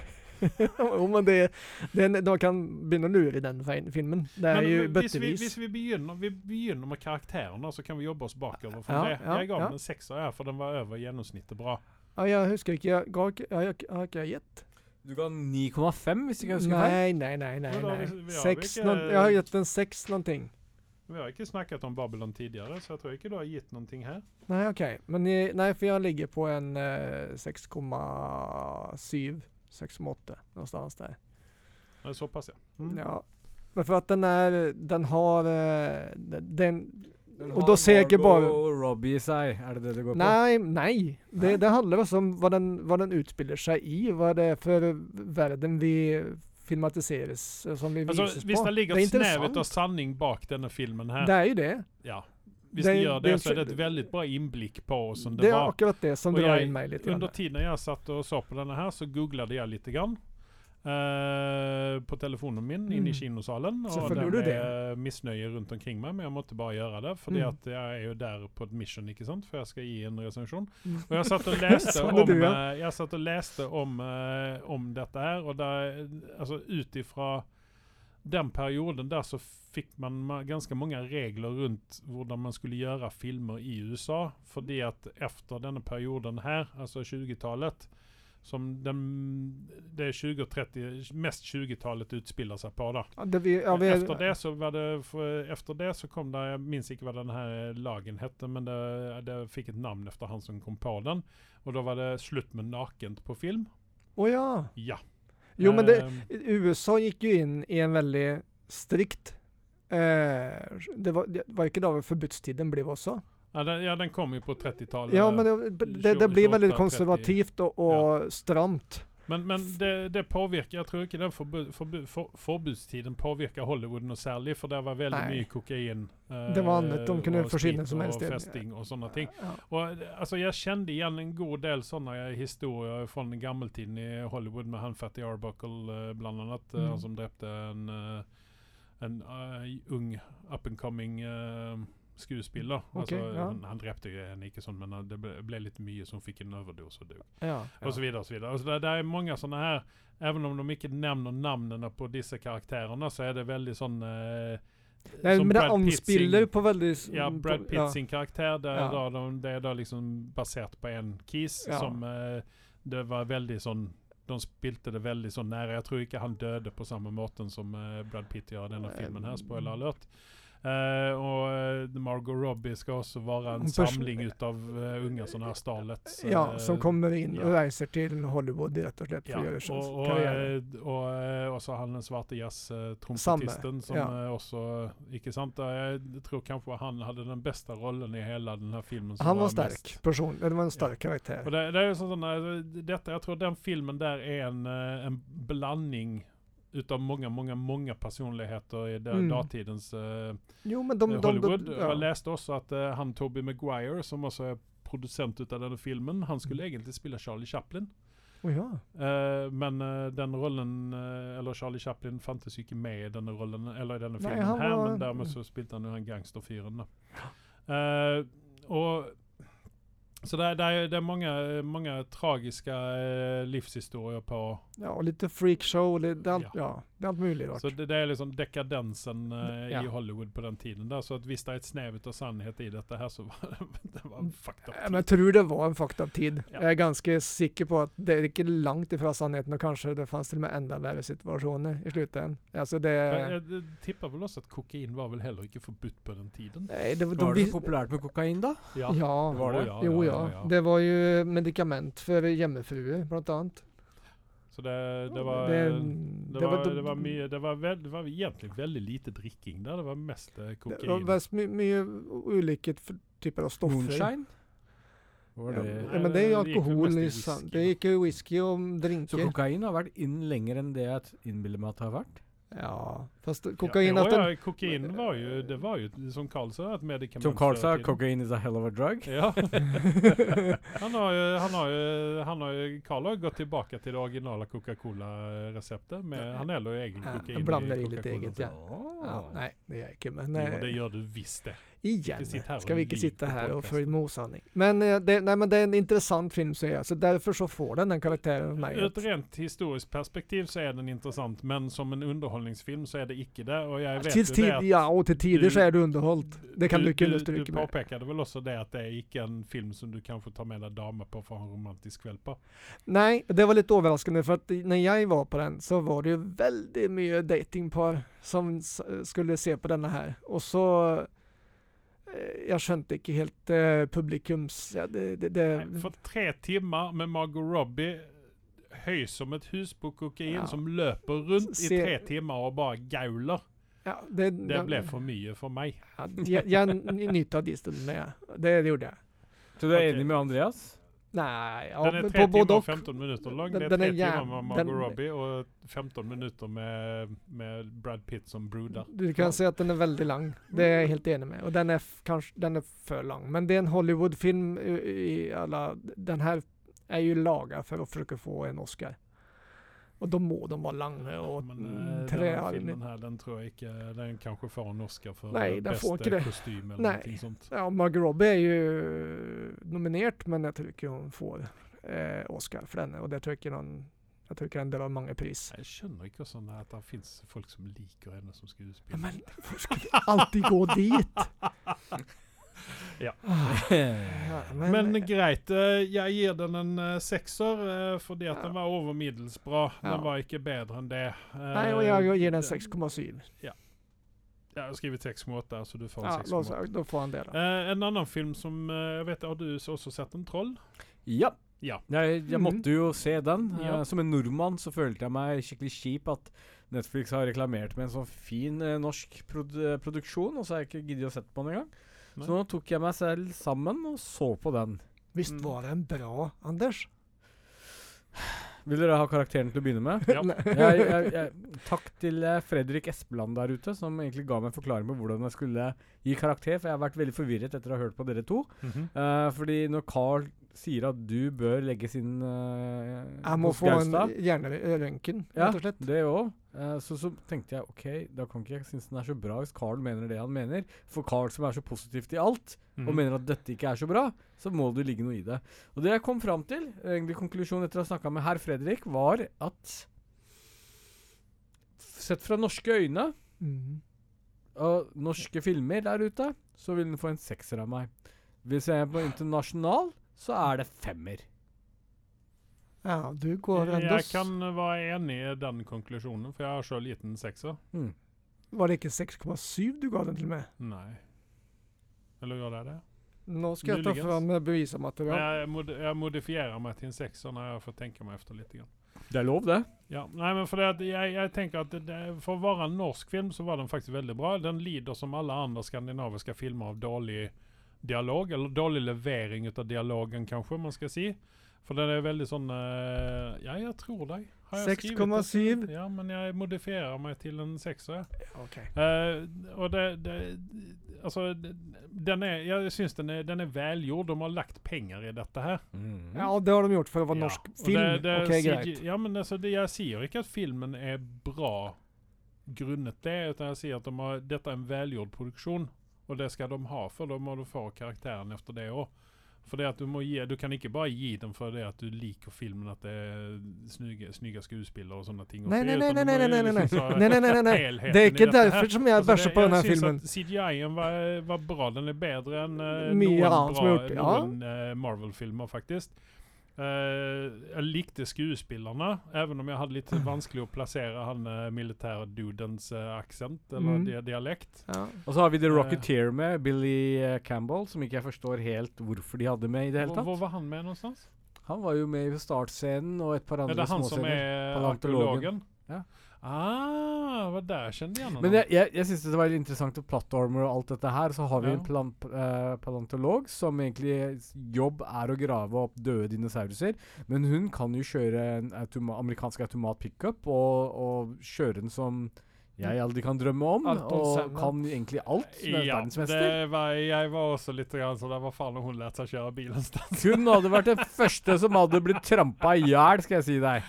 <laughs> jo, men det, det er en- De kan begynne å lure i den fein- filmen. Det er jo hvis, vi, bøttevis. hvis vi, begynner, vi begynner med karakterene, så kan vi jobbe oss bakover. For Ja, det. ja, jeg ga ja. den en sekser, her, for den var over gjennomsnittet bra. Ja, jeg husker ikke Jeg ga ikke ja, jeg- Har ikke jeg gitt? Du ga 9,5, hvis ikke jeg husker Nei, feil. nei, nei. nei, Men da har nei. vi- vi har Seks ikke- noen- Jeg har gitt en seks noen ting. Vi har ikke snakket om Babylon tidligere, så jeg tror ikke du har gitt noe her. Nei, OK. Men jeg, nei, for jeg ligger på en eh, 6,7. 6,8 någonstans der. Det er såpass, ja. Ja. Men for at den er Den har eh, den Den Og har da ser jeg ikke Margot bare- Robbie i seg, er det det det går på? Nei, nei. Nei? Det, det handler også om hva den, hva den utspiller seg i. Hva det er for verden vi filmatiseres eh, som vi Altså, vises hvis på. det Alltså, ligger det et er snevet av interessant. sanning bak denne filmen her, Det er jo det. ja. Hvis det, det- gjør det, det- så er det et veldig bra innblikk på hvordan Det det er var. akkurat det som Og drar jeg- inn meg litt. grann. Under tiden jeg satt og så på denne her, så googlet jeg litt grann. eh, på telefonen min inne i Mm. kinosalen. Og Selvfølgelig det gjorde du ble misnøye rundt omkring meg, men jeg måtte bare gjøre det. Fordi Mm. at jeg er jo der på et mission, ikke sant? For jeg skal gi en resensjon. Mm. Og jeg satt og leste Sånn om, er du, ja. eh, jeg satt og leste om, eh, om dette her, og der, altså, ut ifra alltså, den perioden der så fikk man ma- ganske mange regler rundt hvordan man skulle gjøre filmer i USA. Fordi at efter denne perioden her, altså 20-tallet, alltså som den, det 20-30, mest 20-talet utspiller seg på. da. Ja, det vi, ja, vi, Efter det så var det, for, efter det så kom det, jag minns inte vad den här lagen hette, men det, det fick ett namn efter han som kom på den. Och då var det slut med nakent på film. Å ja. Ja. Jo, men det, Ehm, USA gikk jo inn i en veldig strikt eh, det, var, det var ikke da forbudstiden ble også? ja, den, ja, den kom ju på 30-talet. Ja, men det, det, det blir veldig 28, 30. konservativt og, og stramt. men, men det, det påverkar, jag tror inte den förbu, förbu, för, förbudstiden påverkar Hollywood något särskilt, för det var väldigt Nej. mycket kokain. eh, Det var annat de kunde och försvinna sprit som helst. Och festing och sådana ting. Ja. Och, eh, alltså, jag kände igen en god del sådana eh, historier från gammeltiden i Hollywood med han Fatty Arbuckle eh, bland annat. eh, Mm. Han som drepte en, eh, en eh, ung up and coming eh, skuespiller. alltså, Okej, ja. han, han drepte ju en icke sån men eh, det ble, blev lite mycket som fick en överdos och dog. Ja. Och så vidare och så vidare. Alltså, det, det är många sådana här, även om de inte nämner namnen på dessa karaktärerna så är det väldigt sån eh, som Nei, men det Brad Pitt anspiller sin- jo på veldig s- Ja, på- Brad Pitt Mm, ja. sin karaktär, där Ja. då de, det är då liksom baserat på en kiss Ja. som eh, det var väldigt sån, de spilte det väldigt så nära. Jag tror inte han döde på samma måten som eh, Brad Pitt gör i denna Nej. filmen här, spoiler mm. alert. Eh, och eh, Margot Robbie ska också vara en Hon pers- samling utav eh, unga sådana här starlets. Ja, som eh, kommer inn ja. og reiser til Hollywood, rett og slett. Ja, For å gjøre sånn og, og, karriere. eh, og, eh, og så han den svarte Samme, jazz-trompetisten eh, som ja. eh, også Ikke sant? Eh, Jeg tror kanskje han hadde den beste rollen i hele denne filmen. som Han var mest- sterk person. Det var en sterk Og karakter. det, det er jo sånn, sånn eh, dette, Jeg tror den filmen der er en, eh, en blanding utav mange, mange, mange personligheter i det, Mm. datidens eh, Jo, men de, eh, de, de, Hollywood. ja. Jeg leste også at eh, han Toby Maguire, som også er produsent ut av denne filmen, han skulle Mm. egentlig spille Charlie Chaplin. Å ja. Eh, men eh, den rollen, eh, eller Charlie Chaplin, fantes jo ikke med i denne rollen, eller i denne Nei, filmen han her, var- men dermed så spilte han jo han gangsterfyren, da. Eh, og Så det er, det er, det er mange, mange tragiske eh, livshistorier på ja. Og litt freakshow. Litt, det, er alt, Ja. ja. det er alt mulig rart. Eh, Så det, det er liksom dekadensen eh, Ja. i Hollywood på den tiden. der, Så at hvis det er et snev av sannhet i dette her, så var <laughs> det, det var fucked Mm. Ja, up. Men jeg tror det var en fucked up tid. Ja. Jeg er ganske sikker på at det er ikke langt ifra sannheten, og kanskje det fantes til og med enda verre situasjoner i slutten. Altså det Men eh, jeg, jeg tipper vel også at kokain var vel heller ikke forbudt på den tiden. Nei, det var, de, Var det vis- populært med kokain, da? Ja. Ja. Var det? Ja, Jo ja, ja. ja, ja. Det var jo medikament for hjemmefruer, blant annet. Så det, det var Det- Det det var, var- det var mye Det var, vel- det var egentlig veldig lite drikking der. Det var mest eh, Det kokain. var vest my mye ulike f- typer av stoffer. Moonshine? Eh, Var Ja, det Eh, ja, men det er jo Nei, det gikk vel alkohol mest i i whisky, sand. da. Det gikk jo whisky og Så drinker. kokain har vært inn lenger enn det jeg innbiller meg at det har vært? Ja, fast ja, kokain jo, at den- ja, kokain var jo Det var jo, som Carl sa, et medikament. Som Carl sa, før i tiden. kokain is a hell of a drug. <laughs> Ja. <laughs> han har jo, han har jo, han har jo Carl har jo gått tilbake til det originale Coca-Cola-reseptet. med- Han heller jo egen Ja, kokain. han blander i litt Coca-Cola. eget, ja. ja, Oh. Nei, det gjør jeg ikke, men Jo, eh, det gjør du visst, det. Igjen Ikke sitt her og skal vi ikke lyv sitte på her og podcasten. følge med osanning. Men, eh, det, nei, men det er en interessant film, sier jeg. Så derfor så får den den karakteren av meg. Ur et rent historisk perspektiv så er den interessant, men som en underholdningsfilm så er det ikke det. Og jeg vet Til jo det tid, at ja, og til tider du- så er du underholdt. Det kan du ikke understryke Du med. påpekade väl också det att det är icke en film som du kanske tar med dig damer på för att ha en romantisk kväll på? Eh, Nei, det var litt overraskende, for at når jeg var på den, så var det jo veldig mye datingpar som s eh, skulle se på denne her. Og så eh, Jeg skjønte ikke helt eh, publikums ja, det, det, det, Nej, För tre timmar med Margot Robbie höjs som ett hus på kokain Ja. som löper runt i Se- tre timmar och bara gaular. ja, det, Det blev för mycket för mig. ja, Jeg, jeg nyter av de stundene, ja. Det gjorde jeg. Så du er Ok. enig med Andreas? <sighs> Nei, ja, Den är men tre på både timmar och och. 15 minuter lång. Den- det är den tre är jäv- timmar med Margot den- Robbie och 15 minuter med, med Brad Pitt som brudar. Du kan si at den er veldig lang. Det er jeg helt enig med. Og den er f kanskje den er for lang. Men det er en Hollywood-film i, i alla Den her er jo laga for å prøve å få en Oscar. Og da må de være lange og Men eh, den här filmen trearmede. här, den tror jag inte, den kanske får en Oscar för Nej, eh, den får bästa inte det. kostym eller Nej. någonting sånt. Ja, Margot Robbie er jo nominert, men jeg tror ikke hun får eh, Oscar for denne. Og det tror jeg ikke noen Jeg tror ikke den deler mange pris. Jeg skjønner ikke hvordan det er at det finnes folk som liker henne som Ja, <laughs> skuespiller. men hvorfor skal vi alltid gå dit? Ja, Men greit, eh, jeg gir den en eh, sekser eh, fordi at Ja. den var over middels bra. Ja. Den var ikke bedre enn det. Eh, Nei, og jeg gir den det- 6,7. Jeg har skrevet 6,8, så du får Ja, en la 6,8. oss- da får han det, da. Eh, en annen film som eh, jeg vet, Har du også sett en troll? Ja. Ja. Jeg, jeg Mhm. måtte jo se den. Mm. Ja. Eh, som en nordmann så følte jeg meg skikkelig kjip at Netflix har reklamert med en sånn fin eh, norsk prod eh, produksjon, og så har jeg ikke giddet å sette på den engang. Nei. Så nå tok jeg meg selv sammen og så på den. Mm. Visst var den bra, Anders? Vil dere ha karakteren til å begynne med? Ja. <laughs> jeg, jeg, jeg, takk til eh, Fredrik Espeland der ute, som egentlig ga meg en forklaring på hvordan jeg skulle gi karakter, for jeg har vært veldig forvirret etter å ha hørt på dere to. Mhm. Eh, fordi når Carl sier at du bør legge sin uh, Jeg må få en eh, hjernerøntgen, Ja, rett og slett. det òg. så, så tenkte jeg ok, da kan ikke jeg synes den er så bra hvis Carl mener det han mener. For Carl som er så positiv til alt, Mhm. og mener at dette ikke er så bra, så må det ligge noe i det. Og det jeg kom fram til, egentlig konklusjonen etter å ha snakka med herr Fredrik, var at Sett fra norske øyne Mm. Mhm. og norske filmer der ute, så vil den få en sekser av meg. Hvis jeg er på internasjonal, så er det femmer. Ja, du går ennå Jeg Eh, kan være enig i den konklusjonen, for jeg har sjøl gitt den sekser. Var det ikke 6,7 du ga den til meg? Nei. Eller gjør jeg det? Nå skal jeg ta Muligens. fram eh, Men bevismateriale. Jeg, mod jeg modifierer meg til en sekser når jeg får tenke meg efter litt. Grann. Det er lov, det. Ja, nei, men for det at jeg, jeg tenker at det, det, for å være en norsk film, så var den faktisk veldig bra. Den lider som alle andre skandinaviske filmer av dårlig dialog, eller dårlig levering av dialogen, kanskje man skal si. For den er veldig sånn eh, Ja, jeg tror deg. Har jeg skrevet det? 6,7. Ja, men jeg modifierer meg til en sekser. jeg. Ok. Eh, og det, det Altså, det- den er Jeg syns den er, den er velgjord. De har lagt penger i dette her. Ja, det har de gjort for å være norsk og film. det- det ok, sier- greit. Ja, men altså, det, jeg sier ikke at filmen er bra grunnet det, utan jeg sier at de har, dette er en velgjord produksjon, og det skal de ha, for da må du få karakteren efter det òg. For det at du, må gi, du kan ikke bare gi dem for det at du liker filmen, at det er snygge, snygge skuespillere og sånne ting. Nei, oppi, nei, nei, utan du nei, må nei, nei, jo nei, nei, nei, liksom ta nei, nei, nei, nei. helheten Det er i ikke dette her. derfor som jeg Altså, Alltså, det- bæsjer på denne jeg synes filmen. at CGI-en var, var bra. Den er bedre enn eh, Mye noen, annet som bra- er gjort, Mm, ja. noen eh, Marvel-filmer, faktisk. Eh, jeg likte skuespillerne, even om jeg hadde <clears throat> litt vanskelig å plassere han uh, militærdudens uh, aksent eller Mm. dia- dialekt. Ja. Og så har vi The Eh. Rocketeer med Billy eh, Campbell, som ikke jeg forstår helt hvorfor de hadde med i det hele Hvor, tatt. hvor var han med någonstans? Han var jo med i startscenen og et par Er andre det han som småscener. er Paleontologen. arkeologen? Ja. Ah, var der kjente jeg Men jeg, jeg, jeg syns det var veldig interessant at plattormer og alt dette her, så har vi Ja. en plan, eh, paleontolog som egentlig s- jobb er å grave opp døde dinosauruser, men hun kan jo kjøre en automa amerikansk automat pickup og, og kjøre den som Mm. jeg aldri kan drømme om, Alt om og sammen. kan egentlig alt. Hun er Ja, verdensmester. det var, jeg var også litt grann sånn der, Hva faen har hun lært seg å kjøre bil någonstans? Hun hadde vært den første som hadde blitt trampa i hjel, skal jeg si deg.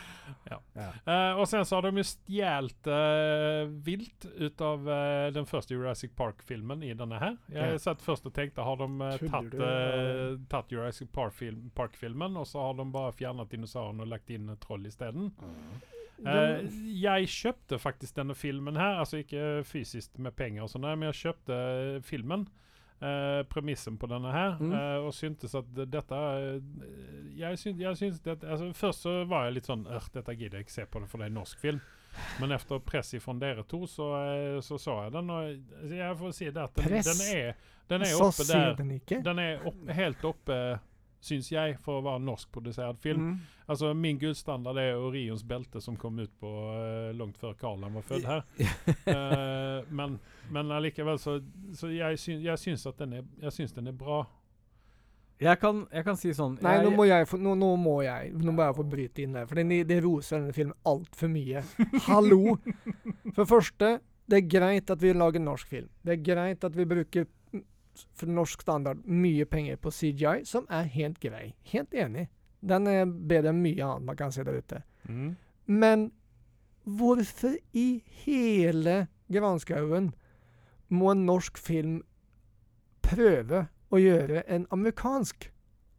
Eh, og sen så har de ju stjält eh, vilt utav eh, den första Jurassic Park-filmen i denne her. Jeg Ja. satt først og tenkte, har de uh, Tuller tatt, du, ja. eh, tatt Jurassic Park-film- Park-filmen og så har de bare fjernet dinosaurene og lagt inn eh, troll Mm. isteden? Eh, Den- jeg kjøpte faktisk denne filmen her, altså ikke fysisk med penger og sånn, der, men jeg kjøpte eh, filmen. eh, premissen på denne her, Mm. eh, og syntes at det- dette eh, Jeg syns, jeg syns det, altså, Først så var jeg litt sånn «Øh, Dette gidder jeg ikke se på, det for det er en norsk film. Men etter press fra dere to, så, eh, så så jeg den, og jeg- jeg får si det at den, den Press? er, den er Så oppe ser der. den ikke. Den er opp, helt oppe, syns jeg, for å være en norskprodusert film. Mm. Mm. Altså, min gullstandard er Orions belte som kom ut på eh, langt før Karl han var født her. <laughs> Eh, men, men allikevel, så, så jeg, syn, jeg syns at den er, jeg syns den er bra. Jeg, kan, jeg kan si sånn Nei, nå jeg, må jeg få, nå, nå må jeg Nå må jeg få bryte inn der. For det, det roser denne filmen altfor mye. Hallo! For det første, det er greit at vi lager norsk film. Det er greit at vi bruker mm, for norsk standard mye penger på CGI, som er helt grei. Helt enig. Den er bedre enn mye annet man kan se der ute. Mm. Men hvorfor i hele granskauen må en norsk film prøve å gjøre en amerikansk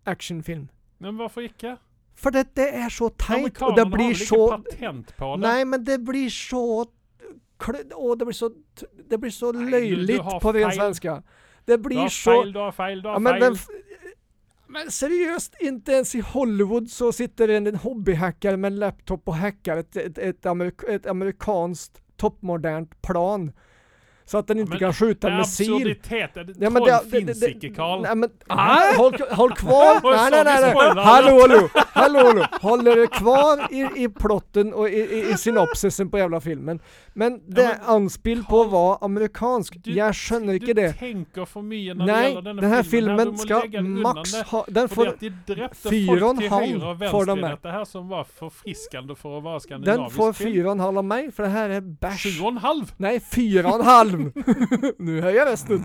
actionfilm? Men hvorfor ikke? For dette er så teit, og Amerikanerne det har blir vel ikke så patent på det? Nei, men det blir så klø- Å, det blir så t- Det blir så Nei, du- du løyligt har på ren feil. svenska. Det Du blir har så feil, du har feil, du har Ja, men, feil. vem, f- men seriöst, inte ens i Hollywood så sitter en, en hobbyhackare med en laptop och hackar ett, ett, ett, amerik, ett amerikanskt toppmodernt plan. Så att den inte men kan skjuta Det er missil. absurditet. Det, Ja, men troll det- det- finnes det- ikke, Carl. Nej men, nej, håll, håll <laughs> kvar! Och Nej, så nej, vi nej, nej. spoilar Hallå, hallå, hallå, hallå! Håller du kvar i, i plotten och i, i, i synopsisen på jävla filmen? Men det men- anspill på att vara amerikansk, Du- jag skjønner ikke du det. tenker for mye når det Nej, gjelder denne den här filmen. filmen ska max ha... Den For får... de drepte fyra och folk en til halv høyre og får venstre de i med. dette her, som var forfriskende for å være Den skandinavisk får fyra och en halv av mig, för det här är Sju bärs. og en halv! Nej, fyra och en halv! <laughs> nu höjer jag rösten.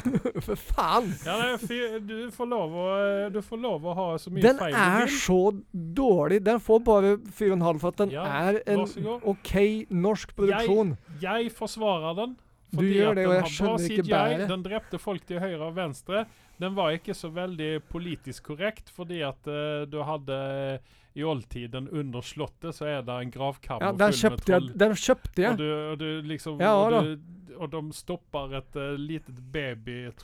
<laughs> för fan! Ja, nei, fy- du, får lov å, du får lov å ha så mye Den feil är du vil. så dålig. Den får bara fyra och en halv för att den Ja, är en okej varsågod. norsk produktion. Jeg forsvarer den. Du gjør at det, den og jeg har bra skjønner ikke CGI, bedre. Den drepte folk til høyre og venstre. Den var ikke så veldig politisk korrekt, fordi at eh, du hadde I oldtiden under slottet så er det en gravkammer Ja, den full med köpte jag. troll. Den köpte Og, jag. du, og du liksom Ja, og, du, og de stopper et uh, lite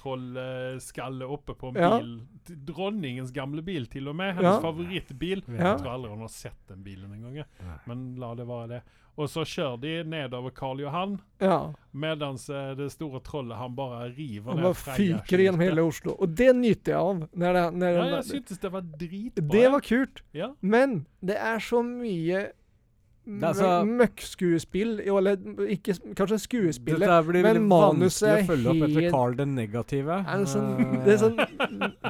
babytrollskalle oppe eh, på en Ja. bil. D- Dronningens gamle bil, til og med. Ja. Hennes favorittbil. Ja. Jeg tror aldri hun har sett den bilen engang, jeg. Nei. men la det være det. Og så kjører de nedover Karl Johan, Ja. mens det store trollet han bare river Han bara fyker genom hela Oslo. Och det nyter jeg av. När det, när Ja, den, jeg syntes det var dritbra. det var kul. ja. Men det er så mye er alltså- så- mø- møkkskuespill, jo, eller ikke s- kanskje skuespillet. Dette blir men veldig manuset er vanskelig å følge opp etter helt- Carl den negative. Er det, sånn, Ah. Eh, det, er sånn,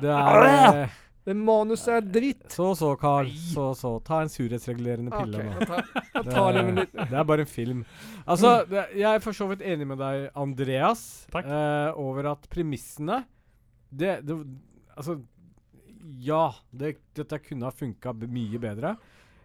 det er eh, det manuset er dritt. Så så, Carl. Så så. Ta en surhetsregulerende Ok, pille nå. jeg tar, jeg Det tar det med Mm. er, litt. det er bare en film. Altså, det, jeg er for så vidt enig med deg, Andreas, Takk. eh, over at premissene det, det Altså, ja. Det, dette kunne ha funka mye bedre.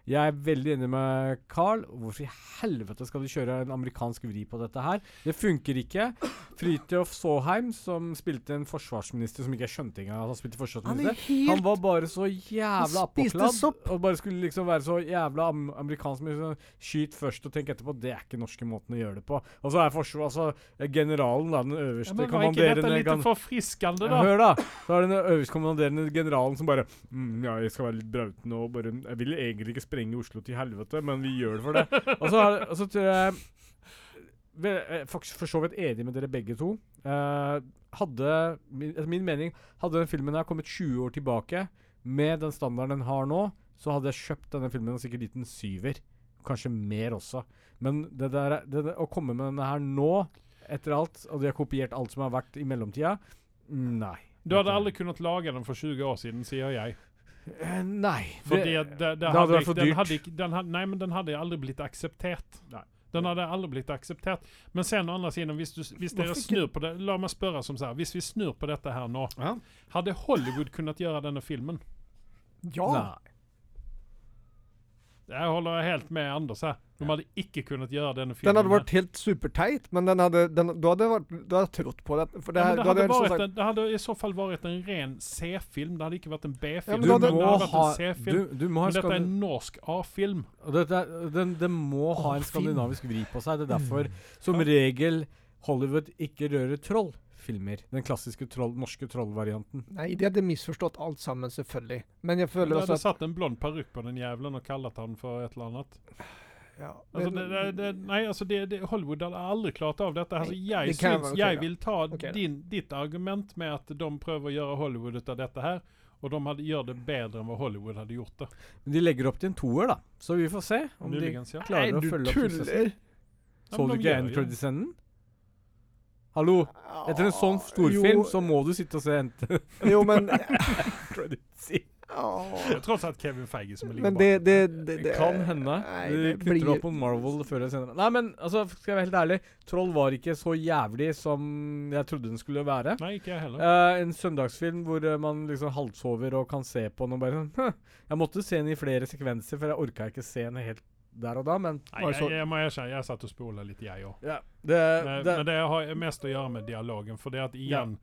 Jeg er veldig enig med Carl. Hvorfor i helvete skal du kjøre en amerikansk vri på dette her? Det funker ikke. <clears throat> Fridtjof Saaheim, som spilte en forsvarsminister som ikke jeg skjønte engang at han spilte Han forsvarsminister. er Han helt var bare så jævla Han spiste sopp. oppåkladd og bare skulle liksom være så jævla am amerikansk. Med sånn, Skyt først og tenk etterpå. Det er ikke norske måten å gjøre det på. Og så er forsvar, altså generalen, da, den ja, øverste men var ikke dette kommanderende litt gan- forfriskende, ja, da? hør, da. Så er det den øverstkommanderende generalen som bare mm, Ja, jeg skal være litt brautende og bare Jeg vil egentlig ikke sprenge Oslo til helvete, men vi gjør det for det. og, så er, det- og så tror jeg Vel, Jeg er faktisk for så vidt enig med dere begge to. Eh, hadde, min- etter min mening, hadde den filmen her kommet 20 år tilbake, med den standarden den har nå, så hadde jeg kjøpt denne filmen og sikkert gitt den syver. Kanskje mer også. Men det der, er- det, der- å komme med denne her nå, etter alt, og de har kopiert alt som har vært i mellomtida Nei. Du hadde aldri kunnet lage den for 20 år siden, sier jeg. Eh, Nei. Fordi at det, det, det hadde hadde, vært for den dyrt. hadde ikke, den hadde, nei, men den hadde aldri blitt akseptert. Nei. Den hadde aldri blitt akseptert. Men sen å andra sidan, hvis, du, hvis dere Varför snur på det La meg spørre som så her. Hvis vi snur på dette her nå, Ja. hadde Hollywood kunnet gjøre denne filmen? Ja. Nei. Jeg holder helt med Anders her. De hadde ikke kunnet gjøre denne filmen. Den hadde her. vært helt superteit, men den hadde, den, du, hadde vært, du hadde trodd på det. For det, ja, her, men det, hadde du hadde helt sånn vært liksom sagt, en, det hadde i så fall vært en ren C-film. Det hadde ikke vært en Ja, B-film. men Du, da- det må hadde vært ha, en du, C-film. du må ha Men en dette er en skandin- norsk A-film. og dette er- den, den må ha en Å, film. Mm. skandinavisk vri på seg. Det er derfor som regel Hollywood ikke rører trollfilmer. Den klassiske troll, norske trollvarianten. Nei, de hadde misforstått alt sammen, selvfølgelig. Men jeg Du føler hadde også at satt en blond parykk på den jævelen og kalt han for et eller annet. ja, Altså, det, Alltså, det, det, nei, altså det, det, Hollywood hadde aldri klart av Alltså, dette. her, så Nei, jeg det kan syns være- ok, jeg da. vil ta Ok, da. din, ditt argument med at de prøver å gjøre Hollywood ut av dette her, og de hadde, gjør det bedre enn hva Hollywood hadde gjort det. Men de legger opp til en toer, da. Så vi får se om de Muligens, ja. klarer å følge opp suksessen. Ja, Så men de gjør du ikke jo end det. credit-scenen? Hallo? Etter en sånn storfilm Jo. så må du sitte og se <laughs> end <laughs> Jo, men <laughs> credit-scenen. Det er tross alt Kevin Feige som ligger Men bak. det, det, det, det kan hende. Nei, De det knytter blir opp mot Marvel før eller senere. Nei, men altså, skal jeg være helt ærlig, Troll var ikke så jævlig som jeg trodde den skulle være. Nei, ikke jeg heller. Eh, en søndagsfilm hvor eh, man liksom halvsover og kan se på den og bare sånn «Hm». Jeg måtte se den i flere sekvenser, for jeg orka ikke se den helt der og da, men Nei, bare jeg, så- jeg, jeg må erkjenne, jeg satt og spola litt, jeg òg. ja, det, Men, det, men det har mest å gjøre med dialogen, for det at igjen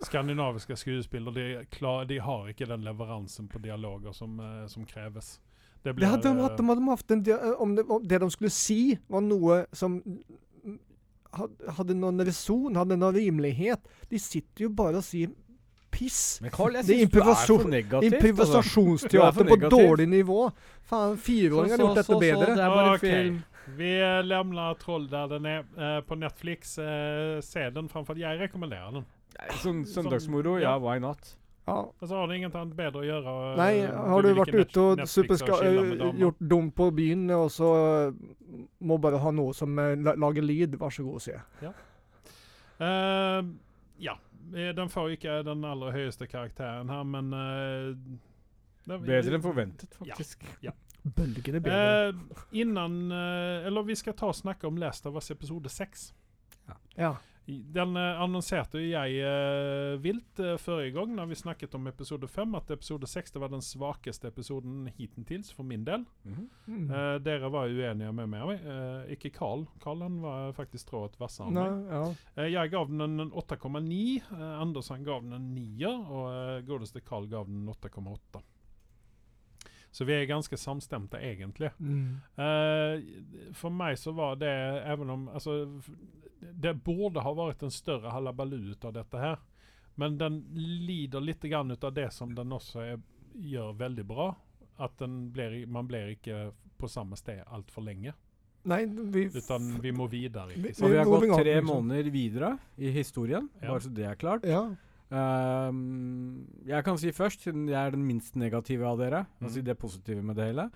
Skandinaviske skuespillere de, klar, de har ikke den leveransen på dialoger som, eh, som kreves. Det Det hadde de eh, hatt, de hadde haft en, dia- om, det, om det de skulle si var noe som had- hadde noen reson, hadde noen rimelighet. De sitter jo bare og sier piss. Men Carl, jeg syns du Det er er improvisasjon- for negativ. alltså. Improvisasjonsteater på negativt. dårlig nivå. Faen, fireåringer har gjort dette bedre. det er bare Okej. film. Vi eh, lämnar Troll där den är eh, på Netflix. Eh, se den framför Jag rekommenderar den. Sånn søndagsmoro, ja, ja. why not? Ja. Alltså har ni inget annat bättre att göra? eh, Nei, har du ligger vært Net- ute og Netflix superska chillar med damer? eh, gjort dum på byen, og så eh, må bare ha noe som eh, la- lager lyd, vær så god å se. Eh, ja, eh, den får ikke den aller høyeste karakteren her, men eh, den- Bedre enn forventet, Ja. faktisk. Bølgen er bedre. Eh, innan, eh, eller vi skal ta og snakke om Last of Us episode 6. ja. Den eh, annonserte jo jeg eh, vilt eh, forrige gang når vi snakket om episode 5, at episode 6 det var den svakeste episoden hitentils for min del. Mm. Eh, dere var uenige med meg. Eh, ikke Carl. Carl han var eh, faktisk strået vassere enn Nei, meg. ja. Eh, jeg gav den en 8,9. Eh, Andersen gav den en 9, og eh, godeste Carl gav den en 8,8. Så vi er ganske samstemte, egentlig. Mm. Eh, för mig så var det, även om, alltså, f- det borde ha varit en större halabaloo utav detta här. Men den lider lite grann utav det som den också är, gör väldigt bra. Att den blir, i- man blir inte på samma sted allt för länge. Nei, vi f- Utan vi må vidare. Vi- liksom. Og vi har Moving gått on, tre liksom. måneder videre i historien, Ja. bare så det er klart. Ja. Ehm, jeg kan si først, siden jeg er den minst negative av dere, og si Mhm. det positive med det hele.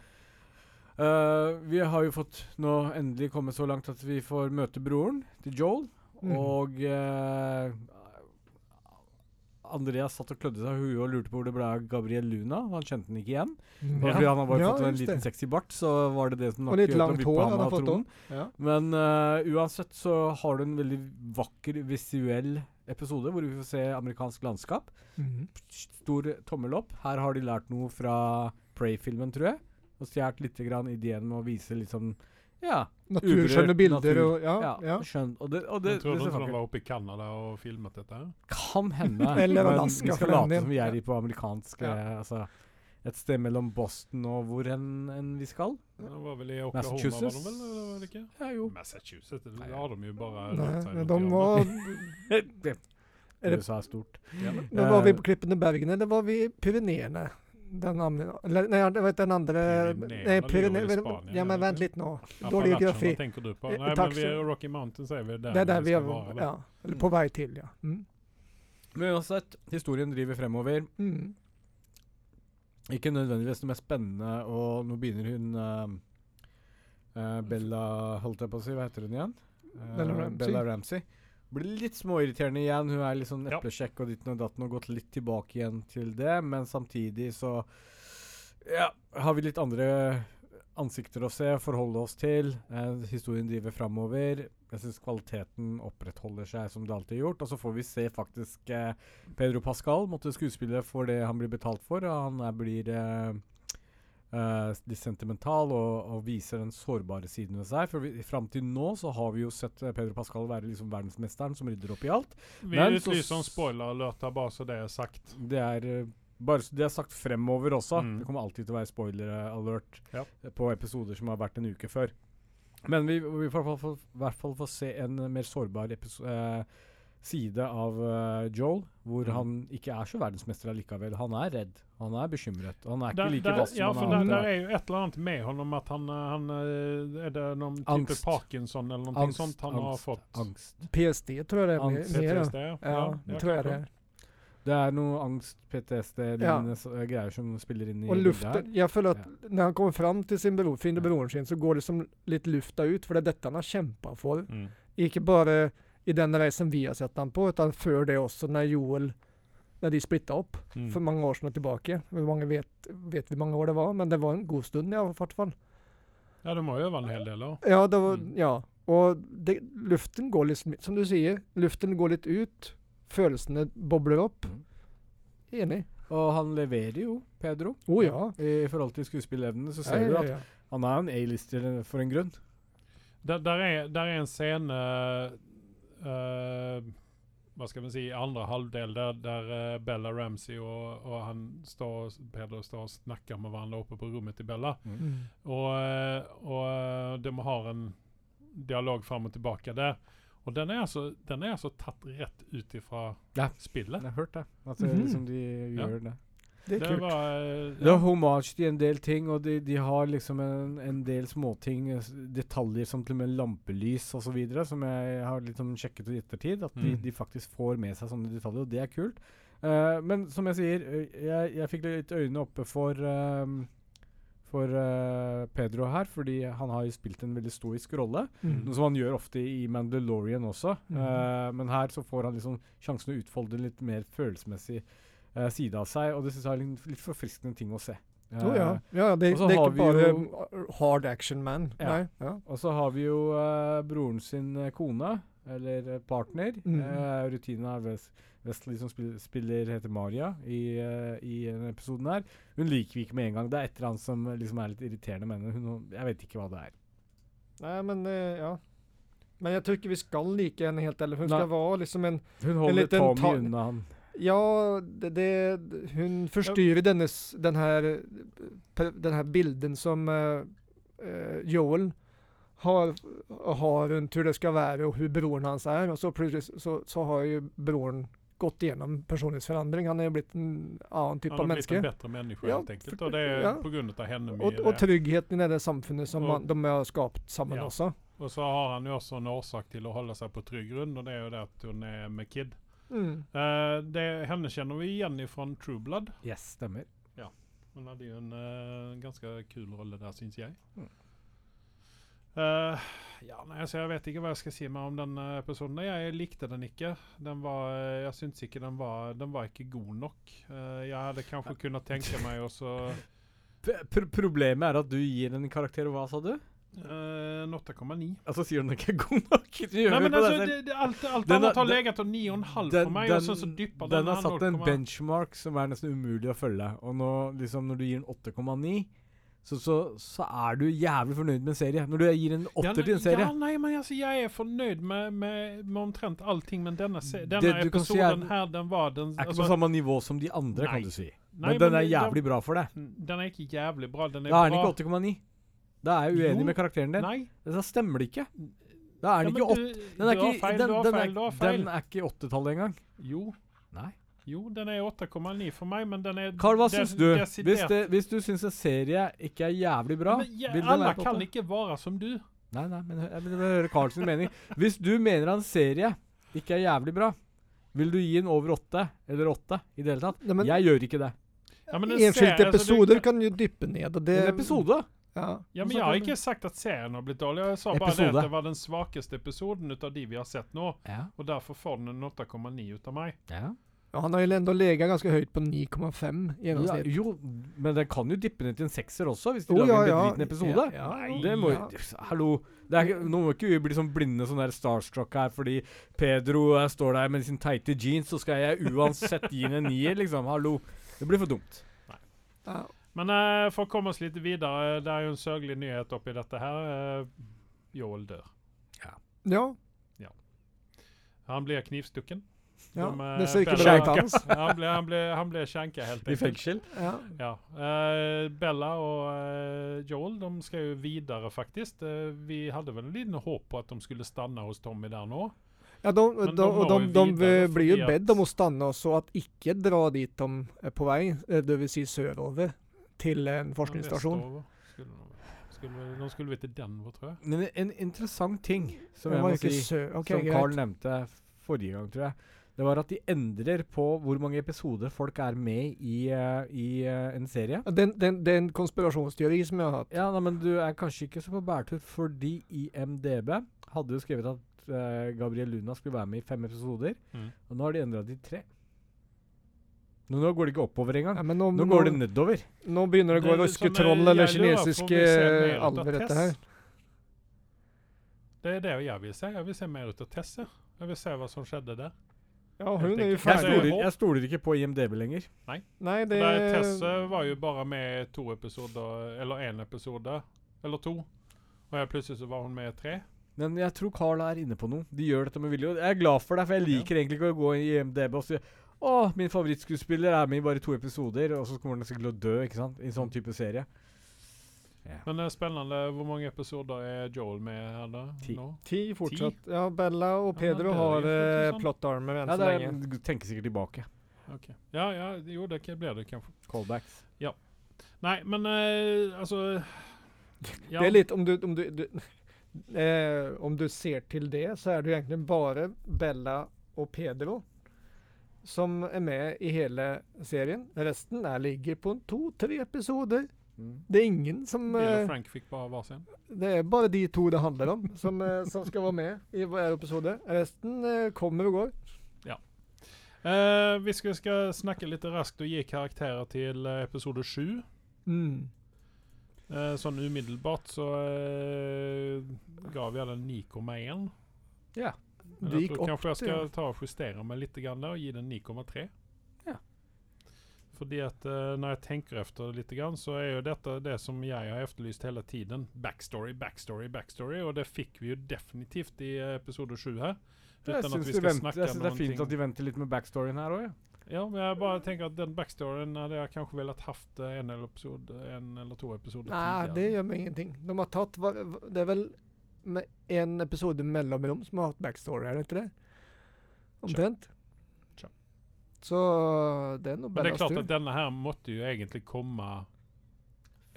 Eh, vi har jo fått nå endelig kommet så langt at vi får møte broren til Joel. Mhm. Og eh, Andreas satt og klødde seg i huet og lurte på hvor det ble av Gabriel Luna. og Han kjente den ikke igjen. Det var Ja. Fordi han har bare Ja, fått en just liten det. sexy bart, så var det det som Og litt gjorde at langt vippet hår han han har av fått tronen. òg. Ja. Men eh, uansett så har du en veldig vakker visuell episode hvor vi får se amerikansk landskap. Mhm. Stor tommel opp. Her har de lært noe fra Prey-filmen, tror jeg. Og stjålet litt grann ideen med å vise liksom Ja. Naturskjønne uberørt bilder natur. og Ja. ja, ja. Skjønt. Og det, og det, Jag tror det inte ser de vakkert var uppe i Kanada og filmat dette här. Kan hende. <laughs> Eller men Alaska, Vi for skal den late del. som vi er i på amerikansk Ja. eh, Altså et sted mellom Boston og hvor enn enn vi skal. De var väl i Oklahoma var de Massachusetts? väl? eller var det inte? Ja, <laughs> jo. Massachusetts, det Nej. har de ju bara Nei, rört sig men runt de i var, Det- Er det- USA er stort. Ja, men- men var vi på Klippene Bergen, eller var vi i Pyreneene? Den andre eller, Nei, det var den andre Pyreneene Nei, ligger Pyreneene i Spania, Ja, eller? men vent litt nå. Dårlig Appalacherna geografi. tänker du på. Eh, Nej, men tack vi så- är Rocky Mountains är vi där. Det er der vi ska er vara, va? ja, eller på vei til, ja. Mm. Men uansett, historien driver fremover. Mm. Ikke nødvendigvis det mest spennende, og nå begynner hun eh, eh, Bella Holdt jeg på å si, hva heter hun igjen? Eh, Bella Ramsey. Bella Ramsey. Blir litt småirriterende igjen. Hun er litt sånn Ja. eplesjekk og ditten og datten og gått litt tilbake igjen til det, men samtidig så ja, har vi litt andre ansikter å se, forholde oss til. Eh, historien driver framover. Jeg syns kvaliteten opprettholder seg som det alltid har gjort. Og så får vi se faktisk eh, Pedro Pascal måtte skuespille for det han blir betalt for. Og han er, blir eh, eh, litt sentimental og, og viser den sårbare siden ved seg. For vi, fram til nå så har vi jo sett eh, Pedro Pascal være liksom verdensmesteren som rydder opp i alt. Vi Men så- utlyser en spoiler alert her, bare så det er sagt. Det er eh, bare så det er sagt fremover også. Mm. Det kommer alltid til å være spoiler alert eh, Ja. på episoder som har vært en uke før. Men vi, vi får i hvert fall- i hvert fall få se en eh, mer sårbar episo- eh, side av eh, Joel, hvor Mm. han ikke er så verdensmester allikevel. Han er redd, han er bekymret. Han er ikke Der- like der- vass ja, som for han der, har der vært. er jo et eller annet med honom at han, eh, han eh, Er det noen type Angst. Parkinson eller noe sånt han har angst, fått? Angst. PST tror jeg det er mer. Angst, mer ja. PTSD? Ja, Ja, det tror jeg det. er. Det er noe angst, PTSD, Ja. lignende s- eh, greier som spiller inn i Og bildet her. luften Jeg føler at når han kommer fram til sin bror, finner broren sin, så går det som litt lufta ut, for det er dette han har kjempa for. Mm. Ikke bare i den reisen vi har sett han på, utan før det også, når Joel Når de splitta opp Mm. for mange år siden og tilbake. Hvor mange vet, vet vi mange år det var, men det var en god stund, ja, i hvert fall. Ja, de har øvd en hel del òg. Ja, det var, Mm. ja. Og det, luften går litt, sm- som du sier, luften går litt ut. Følelsene bobler opp. Mm. Enig. Og han leverer jo, Pedro. Å Oh, ja. I forhold til skuespillevnene så ser Ja, du ja, at ja. han er en A-lister for en grunn. Der, der, er, der er en scene eh, Hva skal man si andre halvdel der, der eh, Bella Ramsey og, og han står, Peder står og snakker med hverandre oppe på rommet til Bella. Mm. Og, eh, og eh, de har en dialog fram og tilbake der. Og den er altså, den er altså tatt rett ut ifra Ja. spillet. Jeg har hørt det. At det, Mhm. liksom de gjør det. Det er Det kult. var eh, Det er homage til en del ting, og de, de har liksom en, en del småting, eh, s- detaljer som til og med lampelys osv., som jeg har liksom sjekket i ettertid. At de, Mm. de faktisk får med seg sånne detaljer, og det er kult. Eh, men som jeg sier, ø- jeg, jeg fikk litt øynene oppe for ehm, for eh, Pedro her, fordi han har jo spilt en veldig stoisk rolle. Mm. Noe som han gjør ofte i Mandalorian også. Mhm. Eh, men her så får han liksom sjansen å utfolde litt mer følelsesmessig eh, side av seg, og det syns jeg er litt, litt forfriskende ting å se. Eh, Jo, Oh, ja. ja, ja det, Og så det er har ikke vi bare jo- uh, hard action man. Ja. Nei. Ja. Og så har vi jo eh, broren sin eh, kone, eller eh, partner. Mhm. eh, Rutina Wes Wesley, som spiller, spiller heter Maria i, eh, i denne episoden her. Hun liker vi ikke med en gang. Det er et eller annet som eh, liksom er litt irriterende med henne. Hun, jeg vet ikke hva det er. Nei, men eh, ja. Men jag tycker vi ska lika henne helt eller Hon ska Nej. vara liksom en, Hun holder liten Tommy ta- unna han. ja, det, det, hon förstyr ju dennes, den här, eh, pe- den här bilden som eh, eh, Joel har, har runt hur det ska vara och hur bron hans är och så plötsligt så, så har ju bron gått igenom personlighetsförändring. Han har ju blivit en annan typ han av har blitt en människa. bättre människa Ja, helt enkelt. för- Och det är ja. på grund av henne. eh, Och, med och det. tryggheten i det samfunnet som Och- man, de har skapat samman Ja. också. och så har han ju också en orsak till att hålla sig på trygg grund och det är ju det att hon är med Kid. Mm. Eh, det, henne känner vi igen ifrån True Blood. Yes, stemmer. Hon hade ju en eh, ganska kul roll där syns jag. Mm. Eh, ja, nej, så jag vet inte vad jag ska säga mer om den eh, episoden. Nej, jag likte den inte. Den var, eh, jag syns inte den var, den var inte god nog. Eh, jag hade kanske kunnat tänka mig och så problemet er at du gir en karakter, hva sa du? eh, en 8,9. Altså sier hun ikke er god nok. Du gjør Nej jo men på deg alltså, selv. det, det, allt, allt Den annat har- har den- legat och 9,5 för den, mig och sen så dyppar den den har här satt en 0,1. benchmark som er nesten umulig å følge. Og nå, liksom, når du gir en 8,9, så, så, så er du jævlig fornøyd med en serie. Når du gir en 8 Ja, til en serie Ja, nei, men alltså, altså, jeg er fornøyd med, med, med omtrent allting, men denne, se- denne Det du kan si er- episoden her, den var den, alltså, er ikke altså, på samme nivå som de andre, Nei. kan du si. Men nei, den er jævlig bra for deg. Den, den er ikke jævlig bra. Den er Da er den bra. ikke 8,9. Da er jeg uenig Jo. med karakteren din. Nei. Da stemmer det ikke. Da er den ikke 8. Den er du har ikke, feil, den, du har den, feil, du har er, feil. den er ikke i 8-tallet engang. Jo, Nei. jo, den er 8,9 for meg, men den er Carl, hva des- syns du? Hvis, desidert- det, hvis du syns en serie ikke er jævlig bra Men ja, vil den alle være på åtte? kan ikke være som du. Nei, nei, men hø- jeg vil bare høre Carl sin mening. Hvis du mener en serie ikke er jævlig bra, vil du gi den over åtte? Eller åtte i det hele tatt? Nej, men jeg gjør ikke det. Ja, men en serie- alltså, enskilda altså, du- episoder kan ju dyppa ned och det... En episode? Ja. Ja, men jeg har ikke sagt at serien har blitt dårlig. Jeg sa bare det Episode. at det var den svakeste episoden ut av de vi har sett nå. Ja. Og derfor får den en 8,9 ut av meg. ja. Ja, han har ju ändå legat ganska höjt på 9,5 i genomsnitt. jo, men den kan jo dippe ned til en sekser også, hvis de Oh, lager ja, en ja. bedriten Ja, episode. ja, ja. Nei, det må jo Ja. Jøss, Hallo. Det er, ikke- nå må ikke vi bli sånn blinde sånn der starstruck her fordi Pedro eh, står der med sin teite jeans, så skal jeg uansett gi den en nier, liksom. Hallo. Det blir for dumt. Ja. Men eh, for å komme oss litt videre, det er jo en sørgelig nyhet oppi dette her. Eh, Joel dør. Ja, Han blir knivstukken. ja. De, eh, det ser ikke Bella- bra ut alls. Han ble, han ble, han ble skjenka, helt I enkelt. fengsel. Ja. Ja. Eh, Bella og eh, Joel de skal jo videre, faktisk. Eh, vi hadde vel en liten håp på at de skulle stanne hos Tommy der nå. Ja, de, Men de, de och de, når de, eh, ju vidare blir ju förbi att- bedda om att stanna och så att icke dra dit de är på väg, eh, det vill säga söderöver, till en forskningsstation. Vestover Skulle de, skulle, de skulle vi til Denver, tror jeg. Men en- en interessant ting som Det jeg var må ju inte si, sö... Okej, som Carl greit. nevnte forrige gang, tror jeg, det var at de endrer på hvor mange episoder folk er med i, eh, i eh, en serie. Ja, den, den, det er en konspirationsteori som jag har hört. Ja, nei, men du er kanskje ikke så på bærtur, fordi IMDb hadde jo skrevet at eh, Gabriel Luna skulle være med i fem episoder, Mm. og nå har de endra til tre. Nå, nå går det ikke oppover engang. Ja, men nå, Nå nå, går det nedover. nå begynner det å gå Det er ryske som, eh, troll eller eh, jeg lurer på om vi ser kinesiske mer ut av alver, dette her. Tess. Det er det jeg vil se. Jeg vil se mer ut av Tess. jeg. Jeg vil se hva som skjedde der. Ja, Helt hun er jo enkelt. Jeg Nei, det ferdig. er stoler, håp. jeg stoler ikke på IMDb lenger. Nei, det Der Tess eh, var jo bare med i to episoder, eller én episode, eller to. Og jeg plutselig så var hun med i tre. Men jeg tror Carl er inne på noe. De gjør dette med vilje. og Jeg er glad for det, for jeg liker egentlig ikke å gå i IMDb og si å, min Mm. favorittskuespiller er med i bare to episoder, og så kommer han sikkert til å dø, ikke sant? I en sånn type serie. Ja. Men det er spennende. Hvor mange episoder er Joel med her da? Ti. nå? Ti fortsatt. Ja, Bella og Pedro det er har jo eh, faktisk sant. plot armor enn Ja, så det lenge. er, tenker sikkert tilbake. Ok. Ja, ja, jo, det kan- blir det kanskje. Callbacks. Nei, men eh, <laughs> altså ja. Det er litt om du, om, du, du <laughs> eh, om du ser til det, så er det jo egentlig bare Bella og Pedro som er med i hele serien. Resten er, ligger på en to-tre episoder. Mm. Det er ingen som Bill og eh, Frank fikk bare hver sin. Det er bare de to det handler om, som, eh, som skal være med i hver episode. Resten eh, kommer og går. Eh, vi skal, skal snakke litt raskt og gi karakterer til eh, episode sju. Mm. Eh, sånn umiddelbart så eh, ga vi den 9,1. Ja. Men Det jeg gikk tror opp. kanskje jeg ja. skal ta og justere meg litt grann der og gi den 9,3. Ja. Fordi at eh, når jeg tenker efter det litt, grann, så er jo dette det som jeg har etterlyst hele tiden. Backstory, backstory, backstory. Og det fikk vi jo definitivt i eh, episode sju her. Jeg Uten at syns vi de skal venter- snakke jeg syns det er noen fint ting. at de venter litt med backstoryen her òg, ja. Ja, men jeg bare tenker at den backstoryen hadde jeg kanskje villet hatt eh, en eller, episode, en eller to episoder Nei, det gjør meg ingenting. De har tatt hva- hva- Det er vel med en episode mellomrom som har hatt backstory, er det ikke det? Omtrent. Tja. Så det er Men det noe er Bellas klart tur. at denne her måtte jo egentlig komme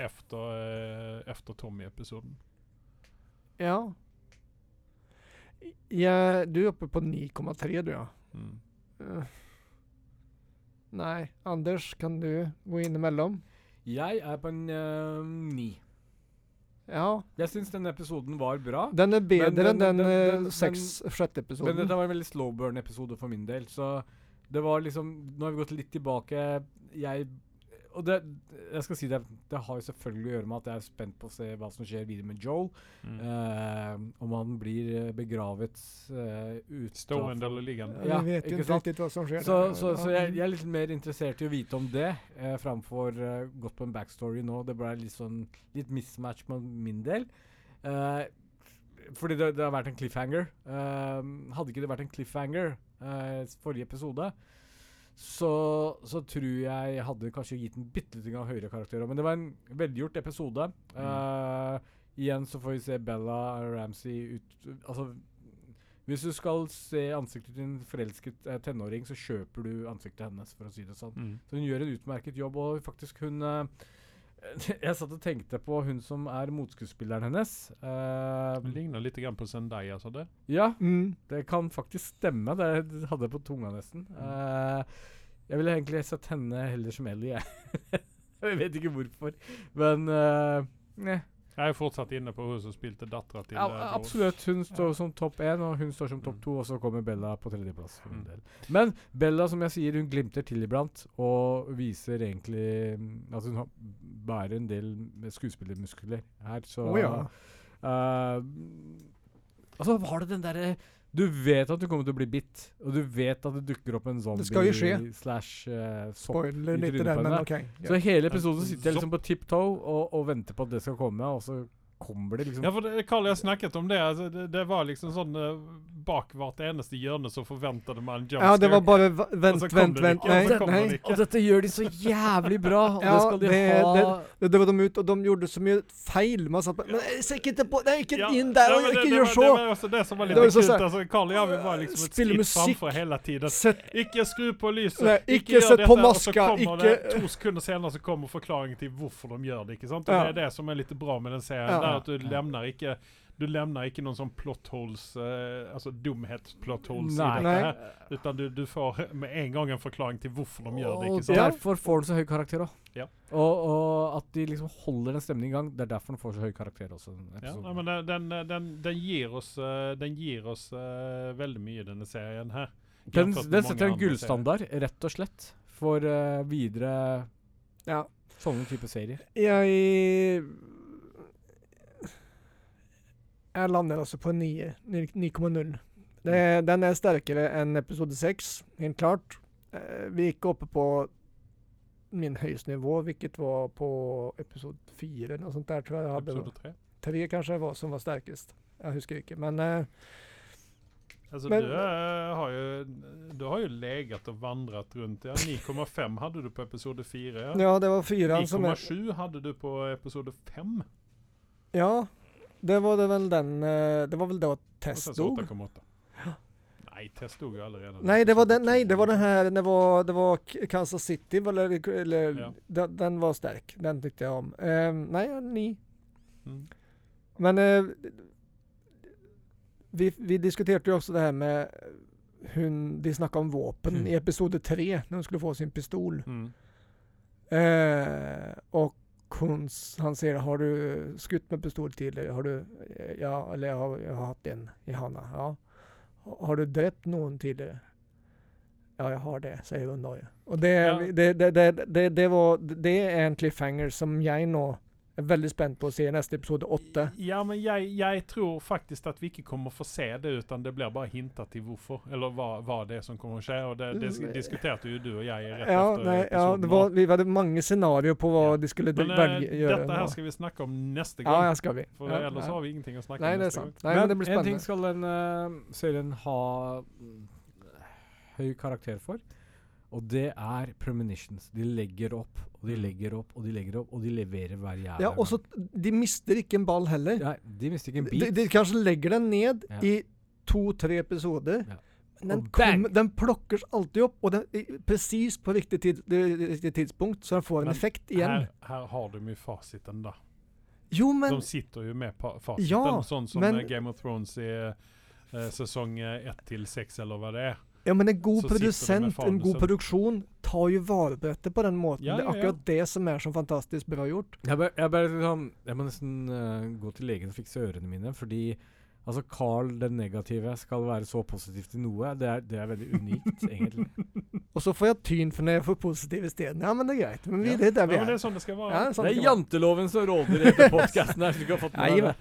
efter, eh, efter Tommy-episoden. Ja. ja. Du er oppe på 9,3, du, ja. Mm. Eh. Nei. Anders, kan du gå innimellom? Jeg er på en øh, ni. Ja. Jeg syns denne episoden var bra. Den er bedre men- enn den, men- eh, men- seks, sjette Men episoden. dette var en veldig slow burn-episode for min del. Så det var liksom Nå har vi gått litt tilbake. Jeg Og det Jeg skal si det, det har jo selvfølgelig å gjøre med at jeg er spent på å se hva som skjer videre med Joel. Mm. Eh, om han blir eh, begravet uh, Stående eller liggende. Vi ja, vet jo ikke ikke sant? riktig hva som skjer. Så, der. så, Ja. så jeg, jeg er litt mer interessert i å vite om det, eh, framfor eh, gått på en backstory nå. Det ble litt sånn litt mismatch på min del. Eh, fordi det, det har vært en cliffhanger. Eh, hadde ikke det vært en cliffhanger eh, s- forrige episode, så, så tror jeg jeg hadde kanskje gitt en bitte lite grann høyere karakter. også. Men det var en velgjort episode. Eh, igjen så får vi se Bella Ramsey ut Altså hvis du skal se ansiktet til en forelsket eh, tenåring, så kjøper du ansiktet hennes, for å si det sånn. Mm. Så hun gjør en utmerket jobb, og faktisk hun eh, <laughs> Jeg satt og tenkte på hun som er motskuespilleren hennes. Den Eh, ligner litt grann på Zendaya, sa det. ja, mm. det kan faktisk stemme. Det hadde jeg på tunga nesten. Mm. Eh, jeg ville egentlig sett henne heller som Ellie, jeg. <laughs> jeg vet ikke hvorfor, men eh, nei. Jeg er fortsatt inne på hun som spilte dattera til Ja, eh, Joel. absolutt. Hun står Ja. som topp én, og hun står som topp Mm. to, og så kommer Bella på tredjeplass. for min Mm. del. Men Bella, som jeg sier, hun glimter til iblant, og viser egentlig mm, at hun har- bærer en del med skuespillermuskler her, så Å ja. eh, Altså, var det den derre Du vet at du kommer til å bli bitt, og du vet at det dukker opp en zombie Det skal jo skje. slash eh, sopp Spoiler i litt trynet der, på men henne. OK. Så hele episoden En sitter jeg liksom på tiptoe og, og venter på at det skal komme, og så kommer det liksom Ja, for det, Carl, jeg snakket om det. Altså, det. Det var liksom sånn eh, Bak hvert eneste hjørne så forventet man jump Ja, det var scare. bare va- Og Vent, så kom vent, det vent. ikke, og så Nei, kom det nei. ikke. Og dette gjør de så jævlig bra, og Ja, det skal de det- ha. Det dro de ut, og de gjorde så mye feil. Man satt bare Men jeg ser ikke det på Nei, ikke Ja, inn der, ja, og men det, ikke det gjør var- så! Det var også det som var alltså, Det litt var så kult. sånn- Altså, Carl og jeg vi var liksom et Spille skritt musikk. framfor hele tiden. Sett Ikke skru på lyset. Nei, ikke gjør sett dette, på og så maska, kommer ikke- Det, to sekunder senere så kommer forklaringen til hvorfor de gjør det. ikke sant? Og Ja. Det er det som er litt bra med den serien. det Ja. er at Du levner ikke du levner ikke noen sånn plot holes, eh, altså dumhetsplot holes i Nei. dette Nei. her. Utan du, du får med en gang en forklaring til hvorfor de gjør det. Og ikke sant? derfor får den så høy karakter òg. Ja. Og, og at de liksom holder den stemningen i gang. Det er derfor den får så høy karakter også. den Ja, episoden. nei, men den, den, den, den gir oss, eh, den gir oss eh, veldig mye, denne serien her. den Gjennomført med mange den setter en andre gullstandard, rett og slett, for eh, videre Ja. sånne type serier. Jeg Jeg lander altså alltså på en nier. Ni- 9,0. Mm. Det- Den er sterkere enn episode 6, helt klart. Eh, Vi gikk oppe på min høyeste nivå, hvilket var på episode 4 eller noe sånt der, tror jeg jeg serier. hadde. Episode tre. Tre kanskje var som var sterkest. Jeg husker ikke, men eh, Altså, Men- du, eh, har jo, du har jo leget og vandret rundt. Ja. 9,5 hadde du på episode 4. Ja. Ja, det var fyran som jeg 9,7 hadde du på episode 5. Ja, det var det väl den, eh, det var väl då Och sen Tess så dog. 8,8. Nej, Tess dog ju allerede. Nej det, var den, nej, det var den här, det var, det var K- Kansas City, eller, eller Ja. den, den var stark, den tyckte jag om. Eh, nej, ni. Mm. Men eh, vi, vi diskuterte ju också det här med hun, de snackade om våpen Mm. i episode 3, när hon skulle få sin pistol. Mm. Eh, och hon, s- han säger, har du skutt med pistol till? Har du, eh, ja, eller jag har, jag har haft en i handen. Ja. Har du dräpt någon till? Ja, jag har det, säger hon då. Och det, Ja. det, det, det, det, det, var, det är en cliffhanger som jag nå är väldigt spänd på att se i nästa episode 8. Ja, men jag, jag tror faktiskt att vi inte kommer få se det utan det blir bara hintat till varför. Eller vad, vad det är som kommer att ske. Och det, det sk- Mm. diskuterade ju du och jag rätt Ja, efter nej, ja, det episoden var, vi hade många scenarier på vad Ja. de skulle Men d- eh, välja, göra. detta här ändå. ska vi snacka om nästa gång. ja, ja, ska vi. för ja, ellers ja. har vi ingenting att snacka Nej, om det är nästa sant. Nej, men, det blir en ting spännande. skal den eh, serien ha mm, høy karakter for, og det er premonitions. De legger opp, og de legger opp, og de legger opp, og de leverer hver jævla Mm. Ja, og så de mister ikke en ball heller. gang. Nei, De mister ikke en De, bit. de kanskje legger den ned Ja. i to-tre episoder. Ja. Men den, Og bang! kommer, den plukkes alltid opp, og den, i- precis på riktig, tid, det- riktig tidspunkt, så den får en Men effekt gång. igjen. Här, här har de ju faciten där. jo, men de sitter ju med pa- faciten. Ja, sånt som men- eh, Game of Thrones i eh, säsong 1 till 6 eller vad det är. ja, men en så god sitter de med produsent, en god fanusen. produksjon, tar jo vare på dette på den måten. Ja, det er ja, ja. akkurat det som er så fantastisk bra gjort. Jeg, bare, jeg, bare, liksom, jeg må nesten eh, gå til legen og fikse ørene mine, fordi altså Carl den negative skal være så positiv til noe. Det er, det er veldig <laughs> unikt, egentlig. Og så får jeg tyn for når jeg får positive steder. Ja, men det er greit. Men vi, Ja. det Ja, er der vi men det är er. sånt det ska vara. Ja, sånn Det kan er man- janteloven som råder etter podkasten her. så du ikke har fått med Nei, deg det.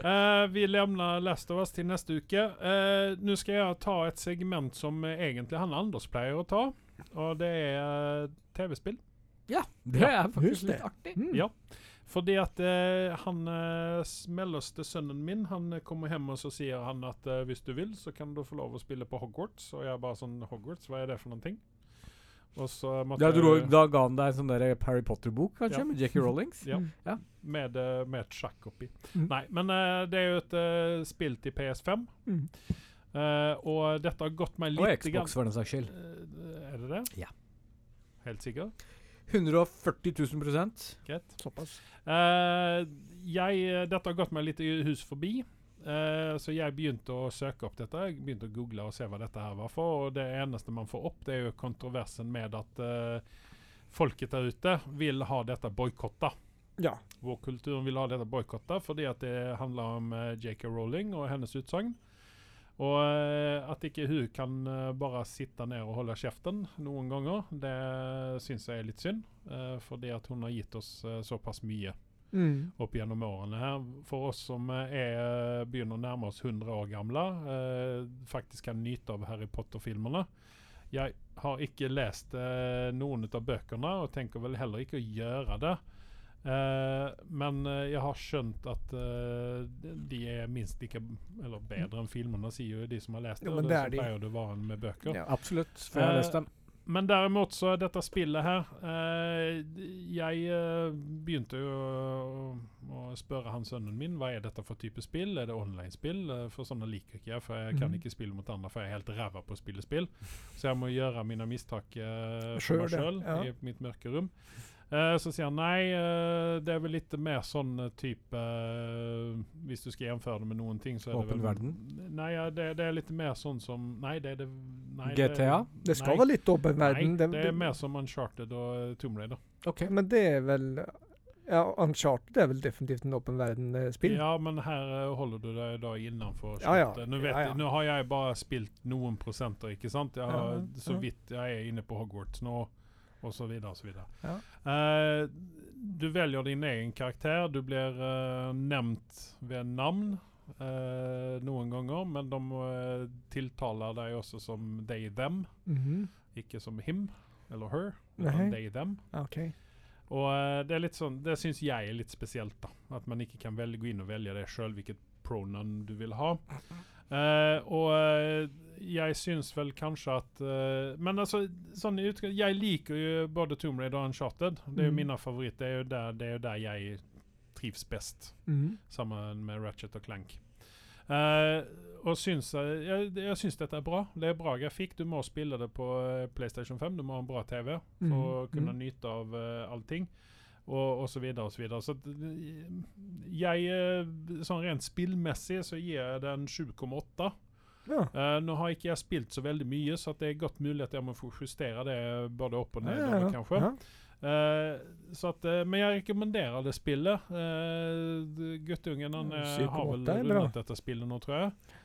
Eh, vi lämnar Last of Us till nästa vecka. Eh, nu ska jag ta ett segment som eh, egentligen han Anders pleier att ta. Och det är eh, tv-spel. Ja, det er Husk faktisk det. litt artig. Mm. Ja. För det att eh, han eh, smällaste sönnen min, han eh, kommer hem och så säger han att eh, visst du vill så kan du få lov att spela på Hogwarts. Och jag bara sån Hogwarts, vad är det för någonting? Och så måste Ja, du, jag- da ga han deg en sånn der Harry Potter-bok, kanskje, Ja. med Jackie Rollings? Ja. Ja. Med, eh, med ett schack upp i. Mm. Nej, men eh, det är ju ett eh, spel till PS5. Mm. Eh, och detta har gått mig Og lite grann... Xbox, for den saks skyld. Eh, Är det det? Ja. Helt sikker? 140 000 Greit. Såpass. Eh, jeg, dette har gått meg litt i hus forbi. Eh, så jeg begynte å søke opp dette. Jeg begynte å google og se hva dette her var for. Og det eneste man får opp, det er jo kontroversen med at eh, folket der ute vil ha dette boikotta. Ja. Vår kultur vil ha dette boikotta fordi at det handler om eh, JK Rowling og hennes utsagn. Og eh, at ikke hun kan eh, bare sitte ned og holde kjeften noen ganger, det syns jeg er litt synd. eh, fordi at hun har gitt oss eh, såpass mye Mm. opp gjennom årene her. For oss som eh, er, begynner å nærme oss 100 år gamle, eh, faktisk kan nyte av Harry Potter-filmene. Jeg har ikke lest eh, noen av bøkene, og tenker vel heller ikke å gjøre det. Eh, men eh, jeg har skjønt at eh, de er minst like Eller bedre enn filmene, sier jo de som har lest det. Jo, og men det det er som de. pleier det å være med bøker. Ja. Absolutt. For jeg har Eh, lest dem. Men derimot så er dette spillet her eh, Jeg eh, begynte jo å, å spørre han sønnen min hva er dette for type typ spill. Er det online-spill? Eh, For sånne liker ikke jeg, for jeg kan Mhm. ikke spille mot andre, for jeg er helt ræva på å spille spill. Så jeg må gjøre mine mistak eh, for Sjøl, meg ja. sjøl Ja. i mitt mørke rom. Eh, så sier han nei, eh, det er vel litt mer sånn eh, type eh, Hvis du skal gjenføre det med noen ting, så er det Åpen vel verden? Nei, ja, det, det er litt mer sånn som Nei, det er det nei, GTA? Det nei. skal være litt åpen verden. Nei, det er mer som Uncharted og eh, Tomb Raider. OK. Men det er vel Ja, Uncharted er vel definitivt en eh, åpen verden-spill. Ja, men her eh, holder du deg da innenfor Ja, ja. slottet. Nå, vet, Ja, ja. jeg- nå har jeg bare spilt noen prosenter, ikke sant? Jeg har, Ja, så ja. vidt jeg er inne på Hogwarts nå, og så videre og så videre. Ja. Eh, du velger din egen karakter. Du blir eh, nevnt ved navn eh, noen ganger, men de eh, tiltaler deg også som they, them, Mhm. ikke som him eller her, men Nei. they, them. OK. Og eh, det er litt sånn, det syns jeg er litt spesielt, da. At man ikke kan velge, gå inn og velge det sjøl, hvilket pronoun du vil ha. Eh, og eh, jeg syns vel kanskje at eh, Men altså, sånn i utgang Jeg liker jo både Tomb Raider og Uncharted. Det er jo Mm. mine favoritter. Det er jo der, det er jo der jeg trivs bäst. Mm. Sammen med Ratchet og Clank. Eh, og syns, eh, jeg, jeg syns dette er bra. Det er bra grafikk. Du må spille det på eh, PlayStation 5. Du må ha en bra TV for Mm, å kunne mm. nyte av eh, allting. Og, og så videre og så videre. Så at, eh, jeg eh, Sånn rent spillmessig så gir jeg den 7,8. Ja. Eh, nå har ikke jeg spilt så veldig mye, så at det er godt mulig at jeg må få justere det både opp og Ja, ned, ja, ja. kanskje. Ja. Eh, så at, eh, men jeg rekommenderer det spillet. Eh, d- guttungen han, Ja, eh, syv har komma vel åtte er bra. rundet dette spillet nå, tror jeg.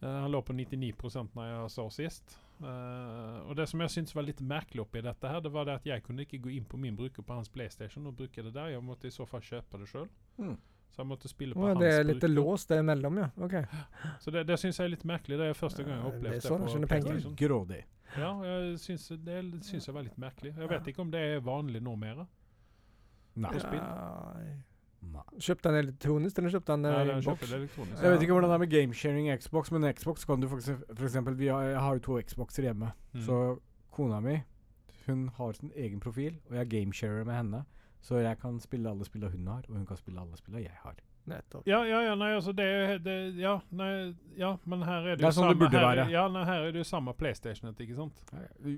Eh, han lå på 99 når jeg så sist. Eh, og Det som jeg syntes var litt merkelig oppi dette, her, det var det at jeg kunne ikke gå inn på min bruker på hans PlayStation og bruke det der. Jeg måtte i så fall kjøpe det sjøl. Mm. Så jeg måtte spille på Å, hans det er litt bruker. låst der imellom, ja. Ok. Så Det, det syns jeg er litt merkelig. Det er første gang jeg har Ja, Eh, det er opplevd det, sånn jeg på skjønner penger. PlayStation. Grådig. Ja, jeg syns det er- syns jeg var litt merkelig. Jeg vet ikke om det er vanlig nå mer. Nei. Og spill. Nei. Nei. Kjøpte han elektronisk, eller kjøpte han Nei, eh, den i kjøper boks? det elektronisk. Jeg vet ikke hvordan det er med gamesharing i Xbox, men i Xbox kan du faktisk f.eks. Vi har, jeg har jo to Xboxer hjemme. Mm. Så kona mi hun har sin egen profil, og jeg gamesharer med henne. Så jeg kan spille alle spillene hun har, og hun kan spille alle spillene jeg har. Nettopp. Ja, ja, ja, nei, altså det, er- det Ja, nei, ja, men her er det, Det er jo sånn det samme- burde her, er- være. Ja, nei, her er det jo samme PlayStationet, ikke sant?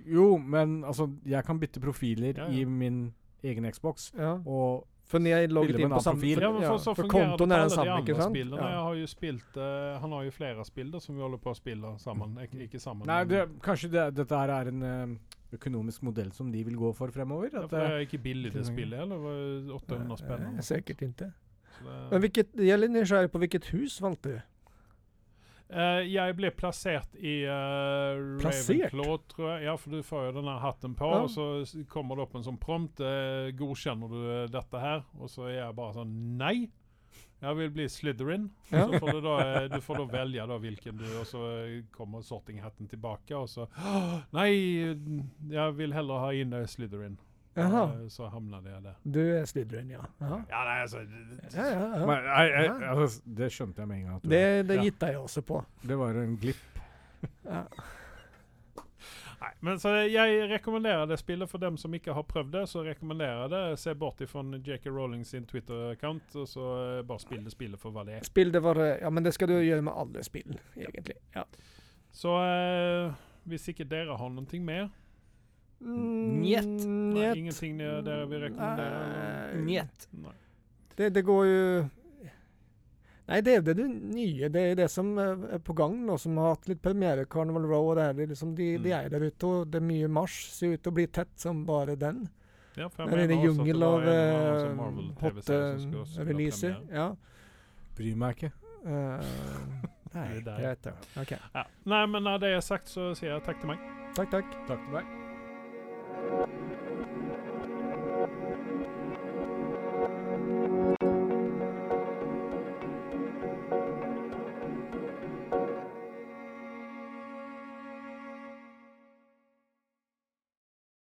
Jo, men altså Jeg kan bytte profiler Ja, ja. i min egen Xbox, Ja. og For når jeg logget Bilder inn på med en annen samme profil. Ja, men for, så for fungerer det på kontoen er alle den de samme, andre ikke sant? spillene. Ja. Jeg har jo spilt eh, Han har jo flere spill da, som vi holder på å spille sammen. Ikke, ikke sammen. Nei, men- det, kanskje det, dette her er en eh, økonomisk modell som de vil gå for fremover? ja, At, eh, for det er ikke billig det Finner- spillet, eller? Det var 800 spenn. eller Eh, noe sånt. Sikkert ikke. Så eh, det- Men hvilket, jeg er litt nysgjerrig på hvilket hus valgte du? Eh, jeg ble plassert i uh, Plassert? Ravenclaw, tror jeg. Ja, for du får jo denne hatten på, Ja. og så s- kommer det opp en sånn prompt. eh, 'Godkjenner du eh, dette her?' Og så er jeg bare sånn Nei! Jeg vil bli Slytherin. Og Ja. Så får du, da, eh, du får da velge da hvilken du Og så eh, kommer sortinghatten tilbake, og så «Åh, Nei, jeg vil heller ha inn eh, Slytherin. Jaha. Eh, Så havnet jeg der. Du er Slytherin, ja. Jaha. Ja, nei, altså d- d- Ja, ja, ja. Men, jeg, jeg, Ja. altså, det skjønte jeg med en gang. At Det, det, det Ja. gitta jeg også på. det var en glipp. Ja. Nei, men så jeg rekommenderer det spillet for dem som ikke har prøvd det. Så rekommenderer jeg det. Se bort ifra J.K. Rowling sin Twitter-account, og så eh, bare spill det spillet for hva det er. Spill det var Ja, men det skal du gjøre med alle spill, egentlig. Ja. Så eh, hvis ikke dere har noe mer Mm, Njet. nei, Njet. Mm, Ingenting dere dere vil rekommendere? eller? Nei. Nei. Det, det går jo Nei, det er det, det nye. Det er det som eh, er på gang nå, som har hatt litt premiere. Carnival Row og det her. Det er liksom de, de Mm. er der ute, og det er mye marsj. Ser ut til å bli tett som bare den. Ja, for jeg Der er det mener også at jungel var av en eller annen sånn eh, Marvel-TV-serie som skulle hotte spille releaser. premiere. Ja. Bryr meg ikke. <laughs> Eh, nei, Det er der. jeg vet det. Ok. Ja. Nei, men når det er sagt, så sier jeg takk til meg. Takk, takk. Takk til deg.